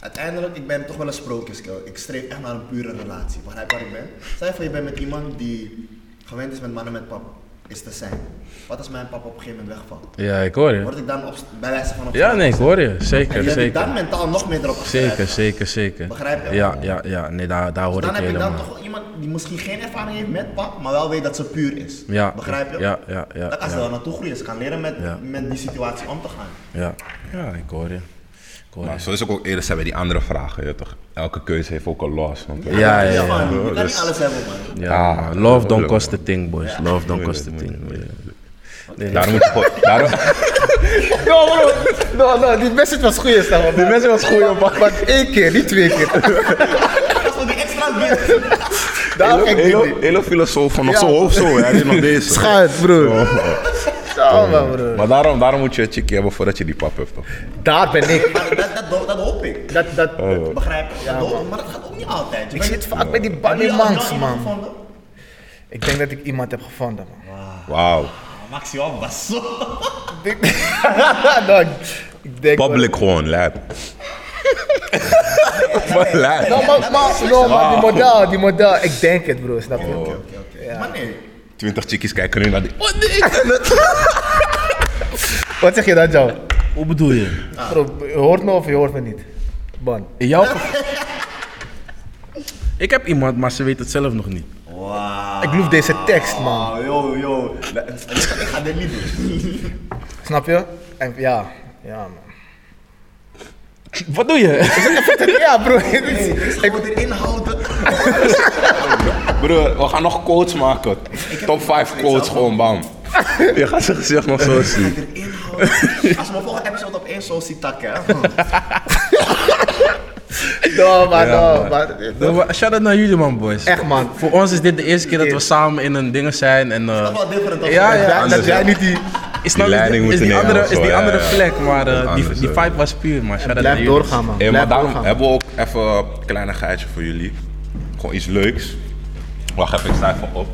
[SPEAKER 3] uiteindelijk, ik ben toch wel een sprookjeskill. Ik streef echt naar een pure relatie. Begrijp waar ik ben? Stel je voor je bent met iemand die gewend is met mannen met pap. Is te zijn. Wat als mijn pap op een gegeven moment wegvalt?
[SPEAKER 4] Ja, ik hoor je.
[SPEAKER 3] Word ik dan op, bij wijze van op
[SPEAKER 4] Ja, nee, ik hoor je.
[SPEAKER 3] En
[SPEAKER 4] Zeker,
[SPEAKER 3] je ik
[SPEAKER 4] zeker.
[SPEAKER 3] dan mentaal nog meer erop afgelegd.
[SPEAKER 4] Zeker, zeker, zeker.
[SPEAKER 3] Begrijp je? Dus
[SPEAKER 4] Ja, ja, ja. Nee, daar, daar hoor
[SPEAKER 3] Dan
[SPEAKER 4] ik je
[SPEAKER 3] heb je
[SPEAKER 4] helemaal.
[SPEAKER 3] dan toch wel iemand die misschien geen ervaring heeft met pap, maar wel weet dat ze puur is.
[SPEAKER 4] Ja,
[SPEAKER 3] Begrijp je?
[SPEAKER 4] ja, ja, ja,
[SPEAKER 3] dat kan ze
[SPEAKER 4] ja.
[SPEAKER 3] wel naartoe groeien. Ze kan leren met,
[SPEAKER 4] Ja.
[SPEAKER 3] met die situatie om te gaan.
[SPEAKER 4] Ja, ja ik hoor je. Ik hoor
[SPEAKER 6] Maar
[SPEAKER 4] je.
[SPEAKER 6] zo is ook ook eerder zijn bij die andere vragen, je weet toch? Elke keuze heeft ook een loss. eh, snap je?
[SPEAKER 4] Ja, ja,
[SPEAKER 3] Dus
[SPEAKER 4] ja.
[SPEAKER 3] van, je kan
[SPEAKER 6] dus-
[SPEAKER 3] niet alles hebben, man.
[SPEAKER 4] ja.
[SPEAKER 6] Ah,
[SPEAKER 4] Love don't
[SPEAKER 6] moeilijk,
[SPEAKER 4] cost a
[SPEAKER 6] man.
[SPEAKER 4] thing, boys. Love don't cost a
[SPEAKER 6] Moeilijk,
[SPEAKER 4] thing.
[SPEAKER 6] moeilijk,
[SPEAKER 4] ja.
[SPEAKER 6] Daarom moet je gewoon... (laughs) Daarom,
[SPEAKER 5] No, bro. No, no, die message was goed, is Die message was goed, man. Maar één keer, niet twee keer.
[SPEAKER 3] Dat is voor die extra winst.
[SPEAKER 5] Daarom ging ik
[SPEAKER 6] hele,
[SPEAKER 5] niet.
[SPEAKER 6] hele filosoof van nog
[SPEAKER 5] Ja.
[SPEAKER 6] zo hoog zo, hè? Dit is (laughs) nog deze.
[SPEAKER 5] Schuit, broer. Zo, man, broer.
[SPEAKER 6] Maar daarom, daarom moet je een chickie hebben voordat je die pap hebt, toch?
[SPEAKER 5] Daar ben ik.
[SPEAKER 3] Maar Nou, dat, dat, dat, dat hoop ik.
[SPEAKER 5] Dat, dat,
[SPEAKER 3] Begrijp je? Dat hoop ik, maar dat gaat ook niet altijd. Je
[SPEAKER 5] ik
[SPEAKER 3] bent-
[SPEAKER 5] zit vaak bij die
[SPEAKER 3] Heb je alsnog
[SPEAKER 5] ballymangs,
[SPEAKER 3] iemand
[SPEAKER 5] man.
[SPEAKER 3] gevonden?
[SPEAKER 5] Ik denk dat ik iemand heb gevonden, man.
[SPEAKER 6] Wauw.
[SPEAKER 3] Ah, Maxi was zo.
[SPEAKER 5] (laughs) Nou, ik- ik denk wel-
[SPEAKER 6] Public gewoon, (laughs) lab. Wat lab?
[SPEAKER 5] No, maar, maar, no, maar die model, die model. Ik denk het, broer, snap je?
[SPEAKER 3] Maar nee.
[SPEAKER 6] Twintig chickies kijken nu naar die...
[SPEAKER 5] Wat zeg je dat, jou?
[SPEAKER 4] Hoe bedoel je?
[SPEAKER 5] Bro, je hoort me of je hoort me niet? Ban.
[SPEAKER 4] In jouw geval- Ik heb iemand, maar ze weet het zelf nog niet.
[SPEAKER 3] Wauw.
[SPEAKER 5] Ik loef deze tekst, man.
[SPEAKER 3] Yo, yo. Ik ga dit niet doen.
[SPEAKER 5] Snap je? En ja, ja, man. (laughs)
[SPEAKER 4] Wat doe je?
[SPEAKER 5] Ja, broer.
[SPEAKER 3] Ik moet erin houden.
[SPEAKER 6] Broer, we gaan nog quotes maken. Top 5 quotes, gewoon bam. (laughs) Je gaat zijn gezicht nog zo zien.
[SPEAKER 3] Erin houden. Als we mijn volgende episode op één zo ziet takken. hè. (laughs)
[SPEAKER 5] No, maar no, maar.
[SPEAKER 4] Shout out Nou, naar jullie, man, boys.
[SPEAKER 5] Echt, man.
[SPEAKER 4] Voor ons is dit de eerste keer dat we samen in een ding zijn. En, eh,
[SPEAKER 3] Dat is wel different. dan-
[SPEAKER 4] Ja, ja.
[SPEAKER 5] Dat-
[SPEAKER 6] anders,
[SPEAKER 5] dat jij
[SPEAKER 6] ja.
[SPEAKER 5] niet die.
[SPEAKER 4] is, nou-
[SPEAKER 6] leiding
[SPEAKER 4] is- is die
[SPEAKER 6] moeten nemen
[SPEAKER 4] andere,
[SPEAKER 6] of
[SPEAKER 4] is
[SPEAKER 6] zo,
[SPEAKER 4] die
[SPEAKER 6] ja,
[SPEAKER 4] andere
[SPEAKER 6] ja.
[SPEAKER 4] plek, maar eh, die,
[SPEAKER 6] Anders,
[SPEAKER 4] die
[SPEAKER 6] ja.
[SPEAKER 4] vibe was puur, man. Shout out naar
[SPEAKER 5] Blijf
[SPEAKER 4] jullie.
[SPEAKER 5] doorgaan, man.
[SPEAKER 6] Hey, maar
[SPEAKER 5] Blijf
[SPEAKER 6] daarom
[SPEAKER 5] doorgaan.
[SPEAKER 6] hebben we ook even een kleinigheidje voor jullie. Gewoon iets leuks. Wacht even, ik sta even op.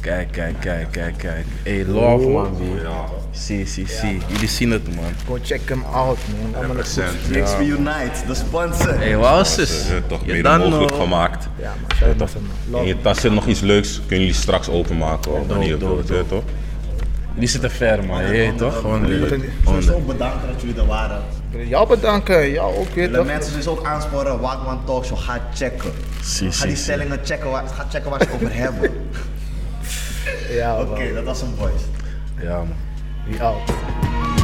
[SPEAKER 4] Kijk, kijk, kijk, kijk, kijk. Hey, love, man, B. Zie, zie, zie. Jullie zien het, man.
[SPEAKER 5] Go check him out, man. Allemaal goed.
[SPEAKER 3] Mix We Unite, de sponsor.
[SPEAKER 4] Hey, wat is het?
[SPEAKER 6] Ja, toch
[SPEAKER 4] Je
[SPEAKER 6] mede
[SPEAKER 4] dan, eh,
[SPEAKER 6] mogelijk
[SPEAKER 4] hoor.
[SPEAKER 6] gemaakt.
[SPEAKER 5] Ja, man. Shout out to him, man.
[SPEAKER 6] In je tas zit nog iets leuks, kunnen jullie straks openmaken hoor. Wanneer je
[SPEAKER 4] dope,
[SPEAKER 6] wilt, weet je toch?
[SPEAKER 4] Die zitten ver, man. Je weet toch? Gewoon eh,
[SPEAKER 5] Wat
[SPEAKER 4] de-
[SPEAKER 5] een-
[SPEAKER 4] gewoon de-
[SPEAKER 3] Sowieso bedankt dat jullie er waren.
[SPEAKER 5] Jou bedanken, jou ook weer
[SPEAKER 3] Willen
[SPEAKER 5] toch?
[SPEAKER 3] mensen dus ook aansporen, Wagwan Talkshow, ga checken.
[SPEAKER 4] Zie,
[SPEAKER 3] Ga die
[SPEAKER 4] zie, zie.
[SPEAKER 3] stellingen checken, waar- ga checken waar ze het over hebben.
[SPEAKER 5] Ja,
[SPEAKER 3] Oké,
[SPEAKER 5] man.
[SPEAKER 3] dat was een voice.
[SPEAKER 4] Ja, man.
[SPEAKER 5] Wie out.